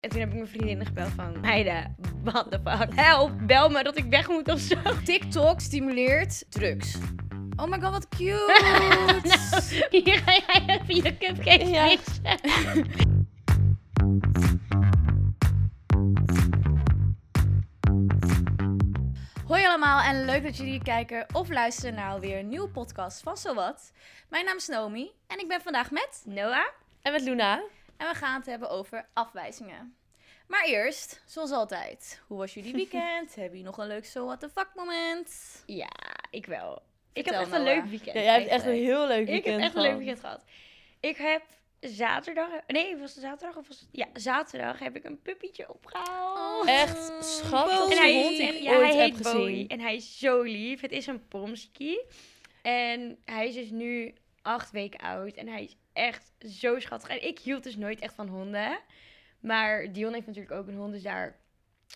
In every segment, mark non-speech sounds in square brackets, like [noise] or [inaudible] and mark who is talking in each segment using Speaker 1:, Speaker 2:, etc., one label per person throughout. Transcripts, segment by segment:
Speaker 1: En toen heb ik mijn vriendinnen gebeld van... Meiden, what the fuck? Help, bel me dat ik weg moet of zo. [laughs]
Speaker 2: TikTok stimuleert drugs. Oh
Speaker 1: [laughs]
Speaker 2: my god, wat cute!
Speaker 1: Hier ga jij even je cupcake
Speaker 2: Ja.
Speaker 1: mixen.
Speaker 2: Hoi allemaal en leuk dat jullie kijken of luisteren naar alweer een nieuwe podcast van Zowat. Mijn naam is Naomi en ik ben vandaag met...
Speaker 1: Noah?
Speaker 3: En met Luna.
Speaker 2: En we gaan het hebben over afwijzingen. Maar eerst, zoals altijd, hoe was jullie
Speaker 1: [laughs]
Speaker 2: weekend? Hebben jullie nog een leuk So What The Fuck moment?
Speaker 1: Ja, ik wel. ik
Speaker 2: Vertel,
Speaker 1: heb echt een
Speaker 2: Noah.
Speaker 1: leuk weekend.
Speaker 3: Ja, jij hebt echt een
Speaker 2: eigenlijk.
Speaker 3: heel leuk
Speaker 1: ik
Speaker 3: weekend
Speaker 1: heb echt een
Speaker 3: gehad.
Speaker 1: leuk weekend gehad. Ik heb zaterdag... Nee, was het zaterdag of was het... Ja, zaterdag heb ik een puppytje opgehaald.
Speaker 2: Oh.
Speaker 3: Echt schattig
Speaker 1: En
Speaker 2: Bowie. Onze
Speaker 1: hij,
Speaker 3: hond die
Speaker 1: en,
Speaker 3: ik
Speaker 1: ja,
Speaker 3: ooit
Speaker 1: hij
Speaker 3: heb
Speaker 1: heet
Speaker 3: gezien.
Speaker 1: Bowie. En hij is zo lief. Het is een Pomskie. En hij is dus nu acht weken oud. En hij is echt zo schattig. En ik hield dus nooit echt van honden. Maar Dion heeft natuurlijk ook een hond. Dus daar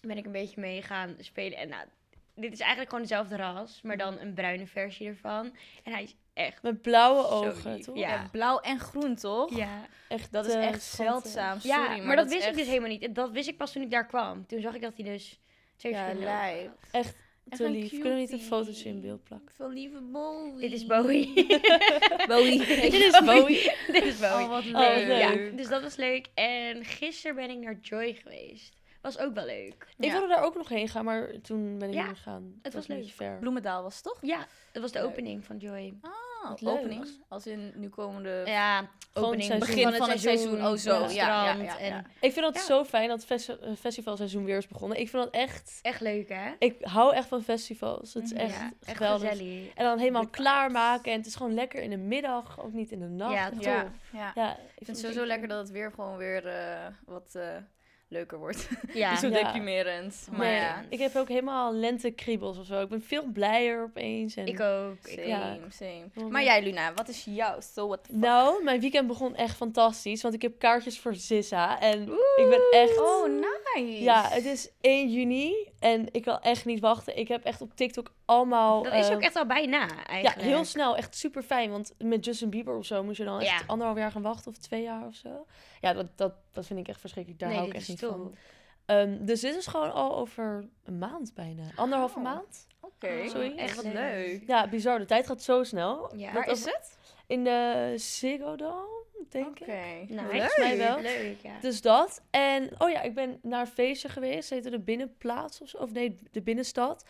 Speaker 1: ben ik een beetje mee gaan spelen. En nou, dit is eigenlijk gewoon dezelfde ras. Maar dan een bruine versie ervan. En hij is echt...
Speaker 3: Met blauwe
Speaker 1: Zo
Speaker 3: ogen,
Speaker 1: lief,
Speaker 3: toch?
Speaker 1: ja.
Speaker 2: Blauw en groen, toch?
Speaker 1: Ja,
Speaker 3: Echt,
Speaker 2: Dat is
Speaker 3: eh,
Speaker 2: echt
Speaker 3: schattig.
Speaker 2: zeldzaam, sorry.
Speaker 1: ja maar, dat,
Speaker 2: is
Speaker 1: wist ik
Speaker 2: echt-
Speaker 1: dus helemaal niet. En Dat wist ik pas toen ik daar kwam. Toen zag ik dat hij dus twee
Speaker 2: Ja,
Speaker 1: verschillende ogen
Speaker 2: lijp.
Speaker 1: had.
Speaker 3: Echt
Speaker 2: Echt
Speaker 3: te
Speaker 2: een
Speaker 3: lief. Kunnen we niet een
Speaker 2: cutie.
Speaker 3: fotootje in beeld plakken?
Speaker 2: Veel lieve Bowie.
Speaker 1: Dit is Bowie.
Speaker 2: [laughs] Bowie.
Speaker 1: [laughs] Dit is
Speaker 2: [laughs]
Speaker 1: Bowie. [laughs] Dit is Bowie.
Speaker 2: Oh, wat
Speaker 3: wat
Speaker 1: Nee,
Speaker 2: leuk.
Speaker 1: ja,
Speaker 3: leuk.
Speaker 1: dus dat was leuk. En gisteren ben ik naar Joy geweest. Was ook wel leuk.
Speaker 3: Ik
Speaker 2: Ja.
Speaker 3: wilde daar ook nog heen gaan, maar toen ben ik
Speaker 1: Ja,
Speaker 3: niet meer gegaan. Het
Speaker 1: was
Speaker 3: een
Speaker 1: leuk.
Speaker 3: beetje ver.
Speaker 2: Bloemendaal was het toch?
Speaker 1: Ja, dat was de
Speaker 2: Leuk.
Speaker 1: opening van Joy.
Speaker 2: Ah,
Speaker 3: Wat leuk.
Speaker 2: opening. Als in nu komende...
Speaker 1: Ja,
Speaker 3: Gewoon
Speaker 1: opening.
Speaker 3: het
Speaker 2: Begin van het seizoen. Oh zo,
Speaker 1: op het
Speaker 2: ja, ja, ja,
Speaker 1: strand
Speaker 2: ja.
Speaker 1: En
Speaker 3: Ik vind dat
Speaker 1: Ja.
Speaker 3: zo fijn dat het festi- eh, festivalseizoen weer is begonnen. Ik vind dat echt...
Speaker 1: echt leuk, hè?
Speaker 3: Ik hou echt van festivals. Het is
Speaker 2: Mhm.
Speaker 3: echt
Speaker 1: ja, echt
Speaker 3: geweldig.
Speaker 1: gezellig.
Speaker 3: En dan helemaal
Speaker 2: Drukke
Speaker 3: klaarmaken. En het is gewoon lekker in de middag, ook niet in de nacht.
Speaker 1: Ja,
Speaker 3: Echt
Speaker 1: ja.
Speaker 3: tof.
Speaker 2: ja.
Speaker 3: Ja,
Speaker 2: Ik vind het sowieso lekker dat het weer gewoon weer eh, wat eh, leuker wordt.
Speaker 1: Ja,
Speaker 2: Niet [laughs] zo
Speaker 3: Ja.
Speaker 2: deprimerend. Maar
Speaker 1: Nee.
Speaker 2: ja,
Speaker 3: Ik heb ook helemaal lentekriebels of zo. Ik ben veel blijer opeens. En...
Speaker 1: ik ook. Ik
Speaker 2: same,
Speaker 1: ook.
Speaker 3: Ja.
Speaker 2: same. Maar jij Luna, wat is jouw so what the fuck?
Speaker 3: Nou, mijn weekend begon echt fantastisch. Want ik heb kaartjes voor Zissa. En ik ben echt...
Speaker 2: Oh, nice.
Speaker 3: Ja, het is 1 juni. En ik kan echt niet wachten. Ik heb echt op TikTok allemaal...
Speaker 1: Dat is
Speaker 3: eh,
Speaker 1: ook echt al bijna,
Speaker 3: Ja,
Speaker 1: eigenlijk.
Speaker 3: heel snel. Echt super fijn. Want met Justin Bieber of zo moest je dan echt
Speaker 1: Ja.
Speaker 3: anderhalf jaar gaan wachten. Of twee jaar of zo. Ja, dat, dat, dat vind ik echt verschrikkelijk. Daar
Speaker 1: Nee,
Speaker 3: hou ik
Speaker 1: dit
Speaker 3: echt
Speaker 1: is
Speaker 3: niet
Speaker 1: top.
Speaker 3: van. Ehm, dus dit is gewoon al over een maand bijna. Anderhalve
Speaker 2: Oh.
Speaker 3: maand.
Speaker 2: Oké,
Speaker 3: Sorry.
Speaker 2: echt wat
Speaker 1: Leuk.
Speaker 2: leuk.
Speaker 3: Ja, bizar. De tijd gaat zo snel.
Speaker 1: Ja.
Speaker 2: Waar
Speaker 3: Dat
Speaker 2: is het?
Speaker 3: In de Ziggo Dome, denk
Speaker 2: Oké.
Speaker 3: ik.
Speaker 1: Nou,
Speaker 2: Leuk.
Speaker 1: volgens mij wel.
Speaker 3: Leuk.
Speaker 1: Leuk, ja.
Speaker 3: Dus dat. En, oh ja, ik ben naar een feestje geweest. Het heette de Binnenplaats of zo. Of nee, de Binnenstad.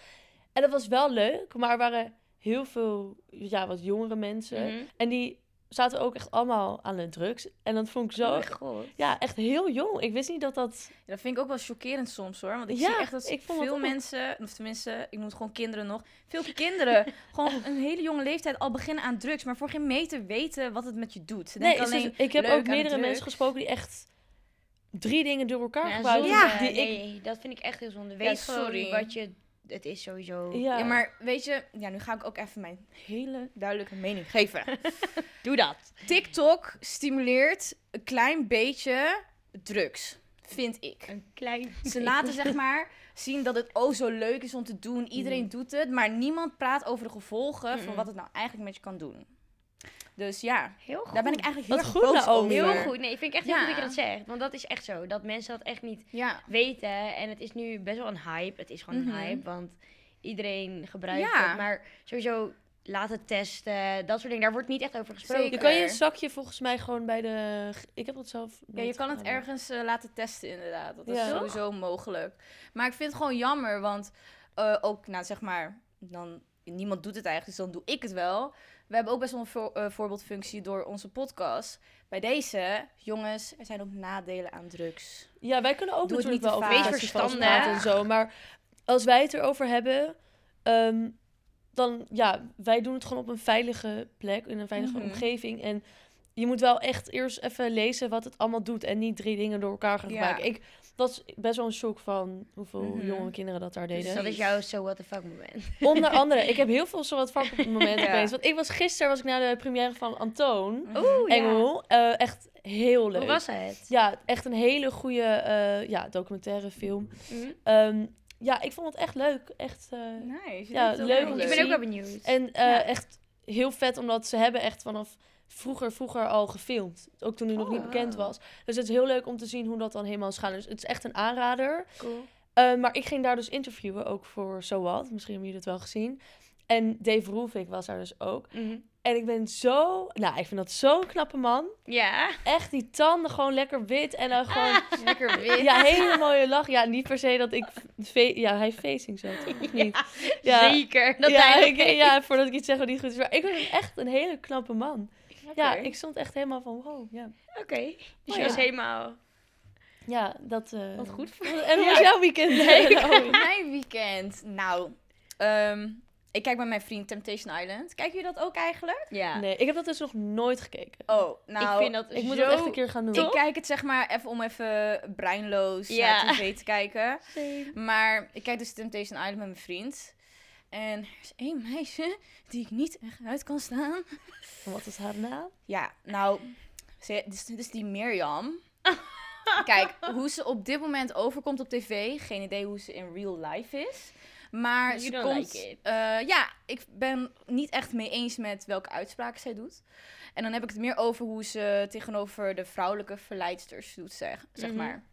Speaker 3: En dat was wel leuk. Maar er waren heel veel, ja, wat jongere mensen.
Speaker 1: Mhm.
Speaker 3: En die zaten ook echt allemaal aan de drugs. En dat vond ik
Speaker 1: Oh
Speaker 3: zo...
Speaker 1: mijn god.
Speaker 3: ja, echt heel jong. Ik wist niet dat dat...
Speaker 2: Ja, dat vind ik ook wel chockerend soms hoor. Want ik
Speaker 3: Ja,
Speaker 2: zie echt dat
Speaker 3: ik vond dat
Speaker 2: veel
Speaker 3: ook.
Speaker 2: mensen, of tenminste, ik noem het gewoon kinderen nog. Veel kinderen
Speaker 3: [laughs]
Speaker 2: gewoon op een hele jonge leeftijd al beginnen aan drugs, maar voor geen meter weten wat het met je doet. Ze
Speaker 3: Nee,
Speaker 2: denken
Speaker 3: is dus-
Speaker 2: alleen,
Speaker 3: het- ik heb
Speaker 2: leuk aan
Speaker 3: ook
Speaker 2: de
Speaker 3: meerdere
Speaker 2: drugs.
Speaker 3: mensen gesproken die echt drie dingen door elkaar
Speaker 1: Ja,
Speaker 3: gebruiken.
Speaker 1: zonde.
Speaker 3: die ik...
Speaker 1: Nee, dat vind ik echt heel zonde. Weet
Speaker 2: sorry.
Speaker 1: gewoon wat je... Het is sowieso...
Speaker 3: Ja.
Speaker 2: Ja, maar weet je, ja, nu ga ik ook even mijn hele duidelijke
Speaker 3: [laughs]
Speaker 2: mening geven.
Speaker 1: Doe dat.
Speaker 2: TikTok stimuleert een klein beetje drugs, vind ik.
Speaker 1: Een klein...
Speaker 2: Ze
Speaker 3: [laughs]
Speaker 2: laten zeg maar zien dat het oh zo leuk is om te doen. Iedereen
Speaker 3: Mm.
Speaker 2: doet het, maar niemand praat over de gevolgen van
Speaker 1: Mm.
Speaker 2: wat het nou eigenlijk met je kan doen. Dus ja,
Speaker 1: Heel goed.
Speaker 2: daar ben ik eigenlijk heel
Speaker 3: Wat
Speaker 2: erg
Speaker 3: goed,
Speaker 2: boos
Speaker 3: Naomi.
Speaker 2: over.
Speaker 1: Heel goed. Nee, ik vind ik echt heel
Speaker 2: Ja.
Speaker 1: goed dat je dat zegt. Want dat is echt zo. Dat mensen dat echt niet
Speaker 2: Ja.
Speaker 1: weten. En het is nu best wel een hype. Het is gewoon
Speaker 2: Mhm.
Speaker 1: een hype. Want iedereen gebruikt
Speaker 2: Ja.
Speaker 1: het. Maar sowieso laten testen. Dat soort dingen. Daar wordt niet echt over gesproken.
Speaker 3: Je
Speaker 2: Zeker.
Speaker 3: kan je zakje volgens mij gewoon bij de... Ik heb dat zelf
Speaker 2: Ja, je
Speaker 3: nooit
Speaker 2: kan het
Speaker 3: gedaan, maar-
Speaker 2: ergens eh, laten testen inderdaad. Dat is
Speaker 3: Ja.
Speaker 2: sowieso mogelijk. Maar ik vind het gewoon jammer, want eh, ook, nou zeg maar, dan, niemand doet het eigenlijk, dus dan doe ik het wel. We hebben ook best wel een voor- eh, voorbeeldfunctie door onze podcast. Bij deze, jongens, er zijn ook nadelen aan drugs.
Speaker 3: Ja, wij kunnen ook
Speaker 2: Doe het
Speaker 3: natuurlijk
Speaker 2: niet
Speaker 3: wel
Speaker 2: te
Speaker 3: over
Speaker 2: vaag.
Speaker 3: festivals
Speaker 1: Wees verstandig.
Speaker 3: praten en zo. Maar als wij het erover hebben, ehm, dan ja, wij doen het gewoon op een veilige plek, in een veilige
Speaker 2: Mhm.
Speaker 3: omgeving. En je moet wel echt eerst even lezen wat het allemaal doet en niet drie dingen door elkaar gaan
Speaker 2: Ja.
Speaker 3: gebruiken. Ik was best wel een shock van hoeveel
Speaker 2: Mhm.
Speaker 3: jonge kinderen dat daar
Speaker 1: Dus
Speaker 3: deden.
Speaker 1: dat is jouw so what the fuck
Speaker 3: [laughs]
Speaker 1: moment.
Speaker 3: Onder andere, ik heb heel veel zo wat vak op het
Speaker 2: [laughs]
Speaker 3: moment
Speaker 2: Ja.
Speaker 3: opeens. Want ik was gisteren was ik naar de première van Antoon
Speaker 2: Mm-hmm.
Speaker 1: Oeh,
Speaker 3: Engel. Eh, echt heel leuk.
Speaker 1: Hoe was het?
Speaker 3: Ja, echt een hele goede eh, ja, documentaire film.
Speaker 1: Mhm.
Speaker 3: Ehm, ja, ik vond het echt leuk. Echt, eh,
Speaker 2: Nice.
Speaker 3: Ja,
Speaker 2: Dit is wel
Speaker 3: leuk
Speaker 2: heel
Speaker 3: om te
Speaker 1: Ik ben
Speaker 3: zien.
Speaker 1: ook wel benieuwd.
Speaker 3: En eh,
Speaker 2: Ja.
Speaker 3: echt heel vet, omdat ze hebben echt vanaf vroeger, vroeger al gefilmd. Ook toen hij nog
Speaker 2: Oh,
Speaker 3: niet bekend
Speaker 1: wauw.
Speaker 3: was. Dus het is heel leuk om te zien hoe dat dan helemaal is gegaan. Dus het is echt een aanrader.
Speaker 1: Cool.
Speaker 3: Eh, maar ik ging daar dus interviewen, ook voor Zowat. Misschien hebben jullie dat wel gezien. En Dave Roelvink was daar dus ook.
Speaker 1: Mhm.
Speaker 3: En ik ben zo... Nou, ik vind dat zo'n knappe man.
Speaker 1: Ja.
Speaker 3: Echt die tanden gewoon lekker wit. En dan gewoon...
Speaker 2: Lekker wit.
Speaker 3: Ja, hele mooie lach. Ja, niet per se dat ik... fe- Ja, hij facing zat, of niet? Ja.
Speaker 1: Zeker. Dat
Speaker 3: ja,
Speaker 1: hij-
Speaker 3: ik, ja, voordat ik iets zeg wat niet goed is. Maar ik vind hem echt een hele knappe man. Ja,
Speaker 2: Oké.
Speaker 3: ik stond echt helemaal van wow. Ja,
Speaker 2: [laughs]
Speaker 1: Oké. Dus
Speaker 3: Oh,
Speaker 1: je
Speaker 3: ja.
Speaker 1: was helemaal...
Speaker 3: ja dat... eh,
Speaker 2: Wat goed voor
Speaker 3: En hoe was jouw weekend?
Speaker 2: [laughs] Oh, mijn weekend. Nou, ehm, ik kijk met mijn vriend Temptation Island. Kijken jullie dat ook eigenlijk?
Speaker 1: Ja.
Speaker 3: Nee, ik heb dat dus nog nooit gekeken.
Speaker 2: Oh, nou,
Speaker 1: ik vind dat
Speaker 3: Ik moet
Speaker 1: zo...
Speaker 3: dat echt een keer gaan doen.
Speaker 2: ik kijk het zeg maar even om even breinloos
Speaker 1: Ja.
Speaker 2: naar tv te kijken. Maar ik kijk dus Temptation Island met mijn vriend. En er is één meisje die ik niet echt uit kan staan.
Speaker 3: Wat is haar naam?
Speaker 2: Ja, nou, ze, dus, dus die [laughs] Mirjam. Kijk, hoe ze op dit moment overkomt op tv, geen idee hoe ze in real life is. Maar
Speaker 1: You
Speaker 2: ze
Speaker 1: don't
Speaker 2: komt.
Speaker 1: like it.
Speaker 2: eh, ja, ik ben niet echt mee eens met welke uitspraken zij doet. En dan heb ik het meer over hoe ze tegenover de vrouwelijke verleidsters doet, zeg, zeg
Speaker 1: Mhm.
Speaker 2: maar.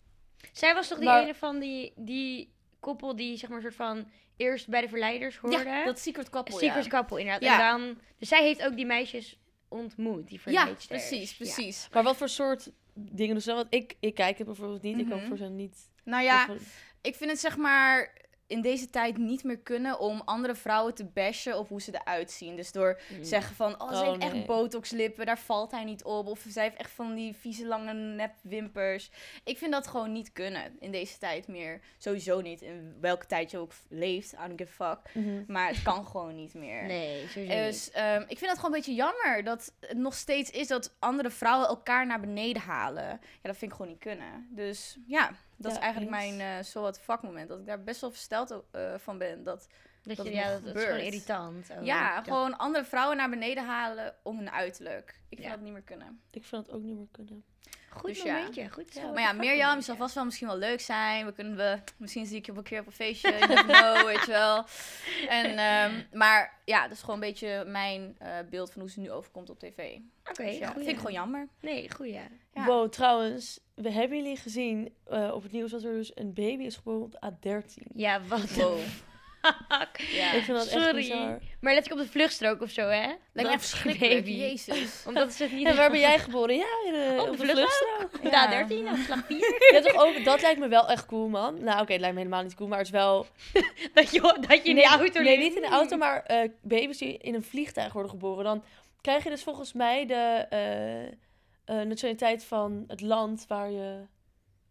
Speaker 1: Zij was toch die
Speaker 3: Maar-
Speaker 1: ene van die, die koppel die zeg maar soort van eerst bij de verleiders hoorde?
Speaker 2: Ja, dat secret couple,
Speaker 1: Secret
Speaker 2: ja.
Speaker 1: couple inderdaad.
Speaker 2: Ja.
Speaker 1: En dan... Dus zij heeft ook die meisjes ontmoet, die
Speaker 2: Ja,
Speaker 1: verleidsters.
Speaker 2: precies,
Speaker 1: Ja.
Speaker 2: precies.
Speaker 3: Maar wat voor soort dingen doen ze dan? Want ik, ik kijk het bijvoorbeeld niet. Ik
Speaker 2: Mhm.
Speaker 3: hoop voor ze niet...
Speaker 2: Nou ja,
Speaker 3: of-
Speaker 2: ik vind het zeg maar in deze tijd niet meer kunnen om andere vrouwen te bashen op hoe ze eruit zien. Dus door
Speaker 1: Mm.
Speaker 2: zeggen van, oh, ze
Speaker 3: Oh,
Speaker 2: heeft
Speaker 3: nee.
Speaker 2: echt botoxlippen, daar valt hij niet op. Of zij heeft echt van die vieze lange nepwimpers. Ik vind dat gewoon niet kunnen in deze tijd meer. Sowieso niet, in welke tijd je ook leeft, I don't give a fuck.
Speaker 3: Mhm.
Speaker 2: Maar het kan [laughs] gewoon niet meer.
Speaker 1: Nee, sowieso niet.
Speaker 2: Dus ehm, ik vind dat gewoon een beetje jammer dat het nog steeds is dat andere vrouwen elkaar naar beneden halen. Ja, dat vind ik gewoon niet kunnen. Dus ja, dat
Speaker 3: Ja,
Speaker 2: is eigenlijk
Speaker 3: eens.
Speaker 2: mijn eh so what the fuck moment. Dat ik daar best wel versteld eh, van ben. Dat
Speaker 1: Dat,
Speaker 2: dat
Speaker 1: je,
Speaker 2: het
Speaker 1: ja,
Speaker 2: nog
Speaker 1: dat, dat is gewoon
Speaker 2: gebeurt.
Speaker 1: irritant. ook.
Speaker 2: ja,
Speaker 1: Oh, Dat-
Speaker 2: gewoon andere vrouwen naar beneden halen om hun uiterlijk. Ik vind
Speaker 1: Ja.
Speaker 2: dat niet meer kunnen.
Speaker 3: Ik vind dat ook niet meer kunnen.
Speaker 1: Goed
Speaker 2: dus ja.
Speaker 1: momentje, goed zo.
Speaker 2: maar ja, Mirjam, je zal vast wel misschien wel leuk zijn. We kunnen we, misschien zie ik je op een keer op een feestje. you never know, [laughs] weet je wel. En, ehm, maar ja, dat is gewoon een beetje mijn eh, beeld van hoe ze nu overkomt op tv.
Speaker 1: Oké,
Speaker 2: Dus ja,
Speaker 1: goeie.
Speaker 2: vind ik gewoon
Speaker 1: [laughs]
Speaker 2: jammer.
Speaker 1: Nee, goeie.
Speaker 2: Ja.
Speaker 3: Wow, trouwens. We hebben jullie gezien eh, op het nieuws dat er dus een baby is geboren op de A13.
Speaker 1: Ja, wat
Speaker 2: Wow.
Speaker 1: de fuck.
Speaker 2: Ja.
Speaker 3: Ik vind dat echt
Speaker 1: Sorry.
Speaker 3: bizar.
Speaker 1: Maar let ik op de vluchtstrook of zo, hè?
Speaker 2: Lijkt me
Speaker 1: Dat
Speaker 2: echt verschrikkelijk.
Speaker 1: baby. [laughs]
Speaker 2: Jezus.
Speaker 1: Omdat ze het niet...
Speaker 3: En waar ben jij nou, geboren? Ja, in de,
Speaker 1: Op
Speaker 3: op,
Speaker 1: de
Speaker 3: de
Speaker 1: vluchtstrook.
Speaker 3: vluchtstrook.
Speaker 1: Ja, 13 of slag 4.
Speaker 3: Ja, toch ook, dat lijkt me wel echt cool, man. Nou, oké, het lijkt me helemaal niet cool, maar het is wel...
Speaker 1: [laughs] Dat je, dat je in de auto
Speaker 3: Nee,
Speaker 1: ligt.
Speaker 3: niet in de auto, maar eh, baby's die in een vliegtuig worden geboren. Dan krijg je dus volgens mij de eh, eh, nationaliteit van het land waar je...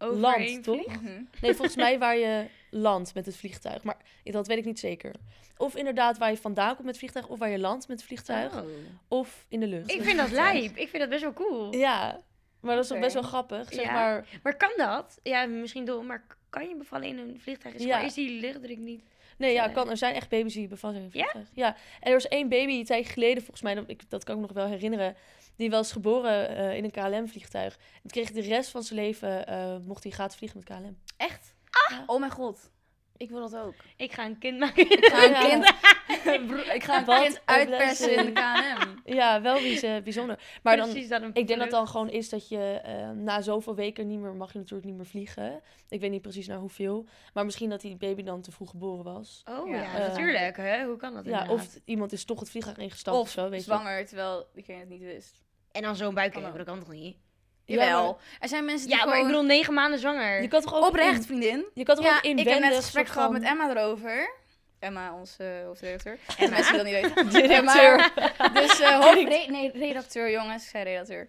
Speaker 1: Overheen Oh.
Speaker 3: Land, toch?
Speaker 1: vliegen.
Speaker 2: Mhm.
Speaker 3: Nee, volgens mij waar je landt met het vliegtuig. Maar dat weet ik niet zeker. Of inderdaad waar je vandaan komt met het vliegtuig, of waar je landt met het vliegtuig.
Speaker 1: Oh.
Speaker 3: Of in de lucht.
Speaker 1: Ik vind
Speaker 3: [laughs]
Speaker 1: dat lijp. Ik vind dat best wel cool.
Speaker 3: Ja, maar dat is toch
Speaker 2: Oké.
Speaker 3: best wel grappig, zeg
Speaker 1: Ja.
Speaker 3: maar...
Speaker 1: Maar kan dat? Ja, misschien dom, maar kan je bevallen in een vliegtuig? Is,
Speaker 3: Ja.
Speaker 1: gewoon- is die luchtdruk niet...
Speaker 3: Nee, ja,
Speaker 1: Eh.
Speaker 3: kan, er zijn echt baby's die bevallen zijn in
Speaker 1: Ja?
Speaker 3: een vliegtuig. Ja? En er was één baby een tijdje geleden, volgens mij, dat, ik, dat kan ik me nog wel herinneren, die was geboren eh, in een KLM-vliegtuig. En kreeg de rest van zijn leven, eh, mocht hij gaat vliegen met KLM.
Speaker 2: Echt?
Speaker 3: Ja.
Speaker 2: Oh mijn god. Ik wil dat ook.
Speaker 1: Ik ga een kind maken.
Speaker 2: Ik ga een
Speaker 3: Ja.
Speaker 2: kind, Broer, ik ga een
Speaker 3: Wat
Speaker 2: kind
Speaker 3: een
Speaker 2: uitpersen in de
Speaker 3: blessing.
Speaker 2: KNM.
Speaker 3: Ja, wel bijz- eh, bijzonder. [laughs] Maar dan,
Speaker 1: Precies dan een
Speaker 3: ik denk dat
Speaker 1: vlucht.
Speaker 3: dan gewoon is dat je eh, na zoveel weken niet meer, mag je natuurlijk niet meer vliegen. Ik weet niet precies naar hoeveel. Maar misschien dat die baby dan te vroeg geboren was.
Speaker 1: Oh ja,
Speaker 2: Ja.
Speaker 3: Eh,
Speaker 1: natuurlijk. Hè? Hoe kan dat
Speaker 3: Ja,
Speaker 1: inderdaad?
Speaker 3: of t- iemand is toch het vliegtuig ingestapt of,
Speaker 2: Of
Speaker 3: zo, weet
Speaker 2: Zwanger, terwijl diegene het niet wist.
Speaker 1: En dan zo'n buik
Speaker 2: Kan
Speaker 1: hebben,
Speaker 2: ook.
Speaker 1: dat kan toch niet?
Speaker 3: je. Ja,
Speaker 2: Jawel.
Speaker 3: maar
Speaker 2: Er zijn mensen die
Speaker 1: Ja, maar ik
Speaker 2: gewoon...
Speaker 1: bedoel negen maanden zwanger.
Speaker 3: je kan toch ook
Speaker 2: Oprecht,
Speaker 3: in-
Speaker 2: vriendin.
Speaker 3: je kan toch
Speaker 2: Ja,
Speaker 3: ook
Speaker 2: ik heb net
Speaker 3: inwendig
Speaker 2: een gesprek
Speaker 3: soort
Speaker 2: gehad
Speaker 3: van-
Speaker 2: met Emma erover. Emma, onze eh, hoofdredacteur. En de mensen die dat niet weten.
Speaker 3: Directeur.
Speaker 2: Emma, dus eh hoofd- re- nee, redacteur, jongens. Ik zei redacteur.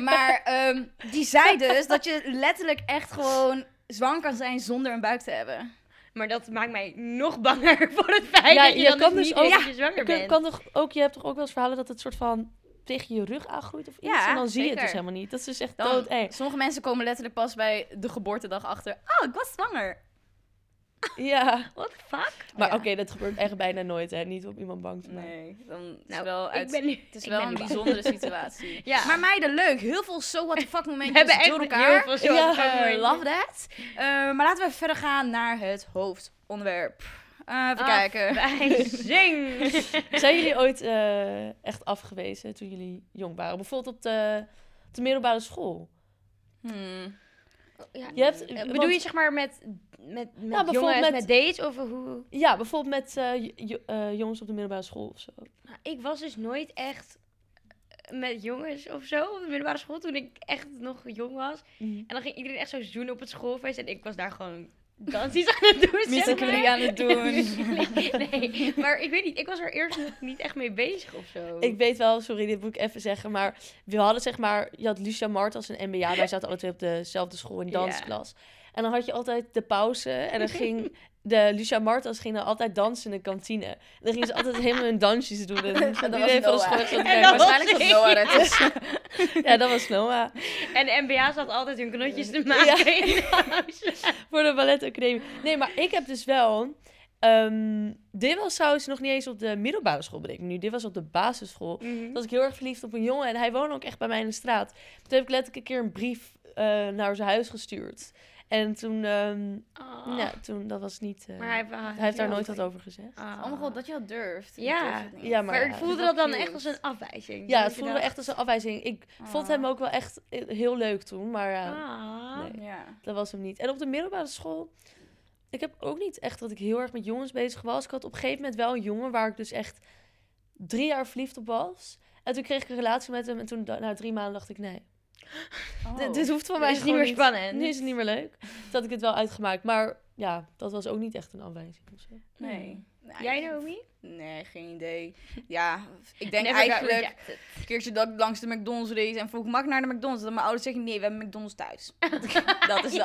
Speaker 2: Maar ehm, die zei dus dat je letterlijk echt gewoon zwanger kan zijn zonder een buik te hebben.
Speaker 1: Maar dat maakt mij nog banger [laughs] voor het feit
Speaker 3: Ja,
Speaker 1: dat je,
Speaker 3: je
Speaker 1: dan
Speaker 3: kan
Speaker 1: dus
Speaker 3: dus
Speaker 1: niet
Speaker 3: ook-
Speaker 1: weet dat je zwanger
Speaker 3: Kun-
Speaker 1: bent.
Speaker 3: kan toch ook, je hebt toch ook wel eens verhalen dat het soort van tegen je rug aangroeit of iets?
Speaker 2: Ja,
Speaker 3: en dan zie je het
Speaker 2: zeker.
Speaker 3: dus helemaal niet. Dat is dus echt
Speaker 2: Dan-
Speaker 3: dood eng.
Speaker 2: Sommige mensen komen letterlijk pas bij de geboortedag achter. Oh, ik was zwanger.
Speaker 3: [laughs] Ja.
Speaker 1: What the fuck?
Speaker 3: Maar
Speaker 2: Ja.
Speaker 3: oké, dat gebeurt echt bijna nooit, hè. Niet om iemand bang te maken.
Speaker 2: Nee, dan is
Speaker 1: Nou,
Speaker 2: wel uit...
Speaker 1: ik ben nu...
Speaker 2: Oh, Het is
Speaker 1: ik
Speaker 2: wel
Speaker 1: ben
Speaker 2: een
Speaker 1: [laughs] nu bang.
Speaker 2: bijzondere situatie.
Speaker 1: Ja.
Speaker 2: Maar meiden, leuk. Heel veel so what the fuck momentjes
Speaker 1: We hebben echt
Speaker 2: door
Speaker 1: heel
Speaker 2: elkaar.
Speaker 1: veel zo
Speaker 3: Ja,
Speaker 1: ja,
Speaker 2: Eh, love that. Eh, maar laten we verder gaan naar het hoofdonderwerp. Eh,
Speaker 1: Ah,
Speaker 2: even kijken. [laughs]
Speaker 1: Afwijzing.
Speaker 3: Zijn jullie ooit eh, echt afgewezen toen jullie jong waren? Bijvoorbeeld op de, op de middelbare school?
Speaker 2: Hmm.
Speaker 1: ja,
Speaker 3: Je hebt-
Speaker 1: eh,
Speaker 3: want-
Speaker 1: bedoel je zeg maar met, met, met
Speaker 2: Nou,
Speaker 3: bijvoorbeeld
Speaker 1: jongens, met...
Speaker 3: met-
Speaker 1: dates of hoe?
Speaker 3: Ja, bijvoorbeeld met eh, j- j- eh, jongens op de middelbare school of zo.
Speaker 1: Nou, ik was dus nooit echt eh, met jongens of zo op de middelbare school toen ik echt nog jong was. En dan ging iedereen echt zo zoenen op het schoolfeest en ik was daar gewoon dansjes aan het doen. zeg maar.
Speaker 2: Musically aan het [laughs]
Speaker 3: [laughs]
Speaker 2: doen.
Speaker 1: Musically. [laughs] nee, maar ik weet niet, ik was er eerst nog niet echt mee bezig of zo.
Speaker 3: Ik weet wel, sorry, dit moet ik even zeggen, maar we hadden zeg maar, je had Lucia Mart als een MBA, wij zaten alle twee op dezelfde school in
Speaker 1: Ja.
Speaker 3: dansklas. En dan had je altijd de pauze en dan
Speaker 1: [laughs]
Speaker 3: ging de Lucia Martens ging dan altijd dansen in de kantine. En dan gingen ze altijd helemaal hun dansjes
Speaker 1: [laughs]
Speaker 3: doen. En,
Speaker 2: Dat was
Speaker 3: iedereen van de
Speaker 2: Noah.
Speaker 3: school
Speaker 2: [laughs]
Speaker 3: zat
Speaker 1: En
Speaker 3: te
Speaker 1: dat
Speaker 3: kijken.
Speaker 2: Waarschijnlijk
Speaker 1: was
Speaker 2: was
Speaker 1: ik.
Speaker 2: Noah dat is. [laughs]
Speaker 3: Ja, dat was Noah.
Speaker 1: En de MBA zat altijd hun knotjes te maken [laughs] in de huis.
Speaker 3: Voor de balletacademie. Nee, maar ik heb dus wel. ehm, dit was trouwens nog niet eens op de middelbare school, bedenk ik me nu. Dit was op de basisschool. Toen was ik heel erg verliefd op een jongen en hij woonde ook echt bij mij in de straat. Toen heb ik letterlijk een keer een brief eh, naar zijn huis gestuurd. En toen, ehm
Speaker 1: Ah.
Speaker 3: nou, toen, dat was niet. eh,
Speaker 1: Maar hij,
Speaker 3: hij heeft daar
Speaker 1: ja.
Speaker 3: nooit wat over gezegd.
Speaker 1: Ah.
Speaker 2: Oh mijn god, dat je dat durft. Ik
Speaker 1: Ja.
Speaker 2: durf het niet.
Speaker 3: Ja, maar,
Speaker 1: maar,
Speaker 3: ja,
Speaker 1: ik
Speaker 3: vind
Speaker 1: voelde
Speaker 2: ik wel
Speaker 1: dat dan
Speaker 2: cute.
Speaker 1: echt als een afwijzing.
Speaker 3: Ja,
Speaker 1: Dat
Speaker 3: het
Speaker 1: je
Speaker 3: voelde
Speaker 1: dacht,
Speaker 3: echt als een afwijzing. Ik vond
Speaker 2: Ah.
Speaker 3: hem ook wel echt heel leuk toen, maar ja,
Speaker 1: ah.
Speaker 3: nee.
Speaker 2: Ja.
Speaker 3: Dat was hem niet. En op de middelbare school. Ik heb ook niet echt dat ik heel erg met jongens bezig was. Ik had op een gegeven moment wel een jongen waar ik dus echt drie jaar verliefd op was. En toen kreeg ik een relatie met hem. En toen da- na drie maanden dacht ik, nee, dit-
Speaker 2: Oh,
Speaker 3: dit hoeft van
Speaker 1: Oh. Dit
Speaker 3: mij
Speaker 1: is niet
Speaker 3: gewoon
Speaker 1: meer spannend.
Speaker 3: Nu is het niet meer
Speaker 1: [laughs]
Speaker 3: leuk. Toen had ik het wel uitgemaakt. Maar ja, dat was ook niet echt een afwijzing. of zo.
Speaker 2: Nee. Nee,
Speaker 1: Jij,
Speaker 2: ik-
Speaker 1: Naomi?
Speaker 2: Nee, geen idee. Ja, ik denk
Speaker 1: Never got
Speaker 2: eigenlijk...
Speaker 1: rejected.
Speaker 2: Een keertje dat ik langs de McDonald's race en vroeg, mag ik naar de McDonald's? Dat mijn ouders zeggen, nee, we hebben McDonald's thuis. [laughs] dat is de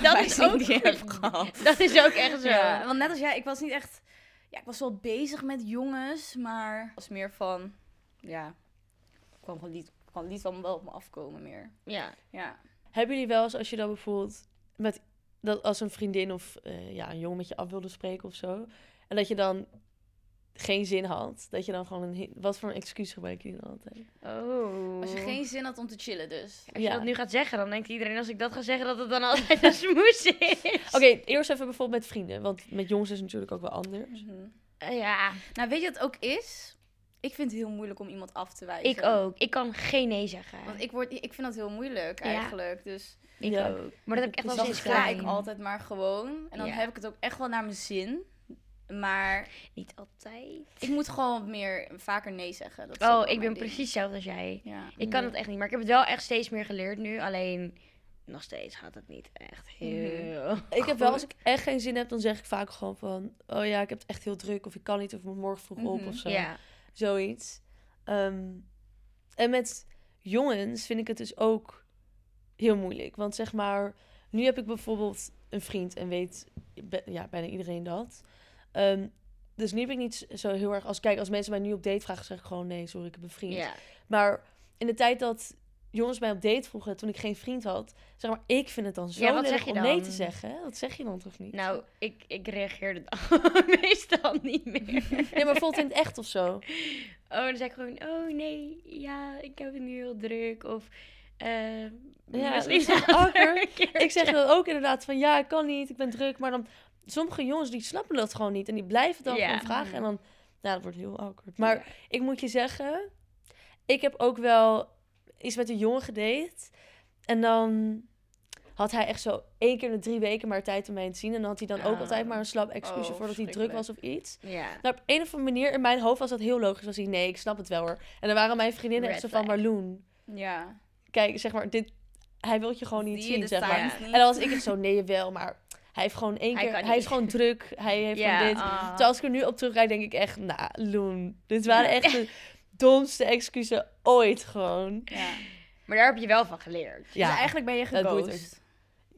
Speaker 1: dat is
Speaker 2: afwijzing
Speaker 1: ook
Speaker 2: die ik
Speaker 1: goed.
Speaker 2: heb gehad.
Speaker 1: Dat is ook echt zo.
Speaker 2: Ja, want net als jij, ik was niet echt... Ja, ik was wel bezig met jongens, maar... was meer van... Ja, kwam gewoon liet, kwam liet wel, wel op me afkomen meer.
Speaker 1: Ja.
Speaker 2: Ja.
Speaker 3: Hebben jullie wel eens, als je dan bijvoorbeeld met dat als een vriendin of eh, ja, een jongen met je af wilde spreken of zo. En dat je dan geen zin had. Dat je dan gewoon een. Wat voor een excuus gebruiken jullie dan altijd?
Speaker 1: Oh.
Speaker 2: Als je geen zin had om te chillen dus.
Speaker 1: Als je
Speaker 3: Ja.
Speaker 1: dat nu gaat zeggen, dan denkt iedereen als ik dat ga zeggen, dat het dan altijd een smoes is.
Speaker 3: [laughs] Oké, eerst even bijvoorbeeld met vrienden. Want met jongens is het natuurlijk ook wel anders.
Speaker 2: Mhm.
Speaker 1: Eh, ja,
Speaker 2: Nou, weet je wat het ook is? Ik vind het heel moeilijk om iemand af te wijzen.
Speaker 1: ik ook. Ik kan geen nee zeggen.
Speaker 2: Want ik, word, ik vind dat heel moeilijk
Speaker 1: Ja.
Speaker 2: eigenlijk, dus...
Speaker 1: Ik
Speaker 3: Ja.
Speaker 1: ook. Maar dat heb ik echt wel
Speaker 3: Dus
Speaker 2: Dan
Speaker 1: sinds
Speaker 2: sla
Speaker 1: klein.
Speaker 2: ik altijd maar gewoon. En dan
Speaker 1: Ja.
Speaker 2: heb ik het ook echt wel naar mijn zin. Maar
Speaker 1: Niet altijd.
Speaker 2: ik moet gewoon wat meer vaker nee zeggen. Dat is ook
Speaker 1: Oh,
Speaker 2: wel
Speaker 1: ik ben
Speaker 2: mijn ding.
Speaker 1: precies hetzelfde als jij.
Speaker 2: Ja.
Speaker 1: Ik kan het echt niet. Maar ik heb het wel echt steeds meer geleerd nu. Alleen, nog steeds gaat het niet echt heel... [laughs]
Speaker 3: Ik heb wel, als ik echt geen zin heb, dan zeg ik vaak gewoon van... Oh ja, ik heb het echt heel druk. Of ik kan niet. Of ik moet morgen vroeg op
Speaker 2: Mhm,
Speaker 3: of zo.
Speaker 1: Ja.
Speaker 3: Zoiets. Ehm, en met jongens vind ik het dus ook heel moeilijk. Want zeg maar, nu heb ik bijvoorbeeld een vriend en weet be- ja, bijna iedereen dat. Ehm, dus nu heb ik niet zo heel erg... Als, kijk, als mensen mij nu op date vragen, zeg ik gewoon... Nee, sorry, ik heb een vriend.
Speaker 1: ja.
Speaker 3: Maar in de tijd dat jongens mij op date vroegen, toen ik geen vriend had, zeg maar, ik vind het dan zo
Speaker 1: Ja, wat
Speaker 3: lullig
Speaker 1: zeg je
Speaker 3: om
Speaker 1: dan?
Speaker 3: nee te zeggen. Dat zeg je dan toch niet?
Speaker 1: Nou, ik, ik reageerde dan [laughs] meestal niet
Speaker 3: [laughs]
Speaker 1: meer.
Speaker 3: Nee, maar bijvoorbeeld in het echt of zo.
Speaker 1: Oh, dan zei ik gewoon, oh nee, ja, ik heb het nu heel druk. Of, eh misschien
Speaker 3: dat is toch
Speaker 1: later
Speaker 3: awkward?
Speaker 1: een keer.
Speaker 3: Ik zeg dan ook inderdaad van, ja, ik kan niet, ik ben druk. Maar dan, sommige jongens die snappen dat gewoon niet. En die blijven dan
Speaker 1: Ja.
Speaker 3: gewoon vragen. En dan, nou, dat wordt heel awkward. Maar ik moet je zeggen, ik heb ook wel iets met een jongen gedate. En dan had hij echt zo één keer in de drie weken maar tijd om mij te zien. En dan had hij dan ook
Speaker 1: Ah.
Speaker 3: altijd maar een slap excuus
Speaker 2: Oh,
Speaker 3: voor dat hij druk was of iets.
Speaker 1: Ja.
Speaker 3: Nou, op een of andere manier, in mijn hoofd was dat heel logisch. Was hij, nee, ik snap het wel hoor. En dan waren mijn vriendinnen
Speaker 1: Red
Speaker 3: echt zo van,
Speaker 1: flag.
Speaker 3: Marloen,
Speaker 2: Ja.
Speaker 3: kijk, zeg maar, dit, hij wil je gewoon niet
Speaker 2: Zie je
Speaker 3: zien,
Speaker 2: de
Speaker 3: zeg maar.
Speaker 2: signs
Speaker 1: Ja.
Speaker 2: niet?
Speaker 3: En dan was ik echt zo, nee, wel, maar hij heeft gewoon één
Speaker 1: Hij
Speaker 3: keer,
Speaker 1: kan
Speaker 3: hij,
Speaker 1: niet.
Speaker 3: is gewoon druk, hij heeft
Speaker 1: Ja,
Speaker 3: gewoon dit.
Speaker 1: ah.
Speaker 3: Terwijl als ik er nu op terugrijd, denk ik echt, nou, Loen, dit waren echt de domste excuses ooit gewoon.
Speaker 2: ja.
Speaker 1: Maar daar heb je wel van geleerd.
Speaker 3: Ja,
Speaker 2: Dus eigenlijk ben je
Speaker 3: dat boeit
Speaker 2: geghost.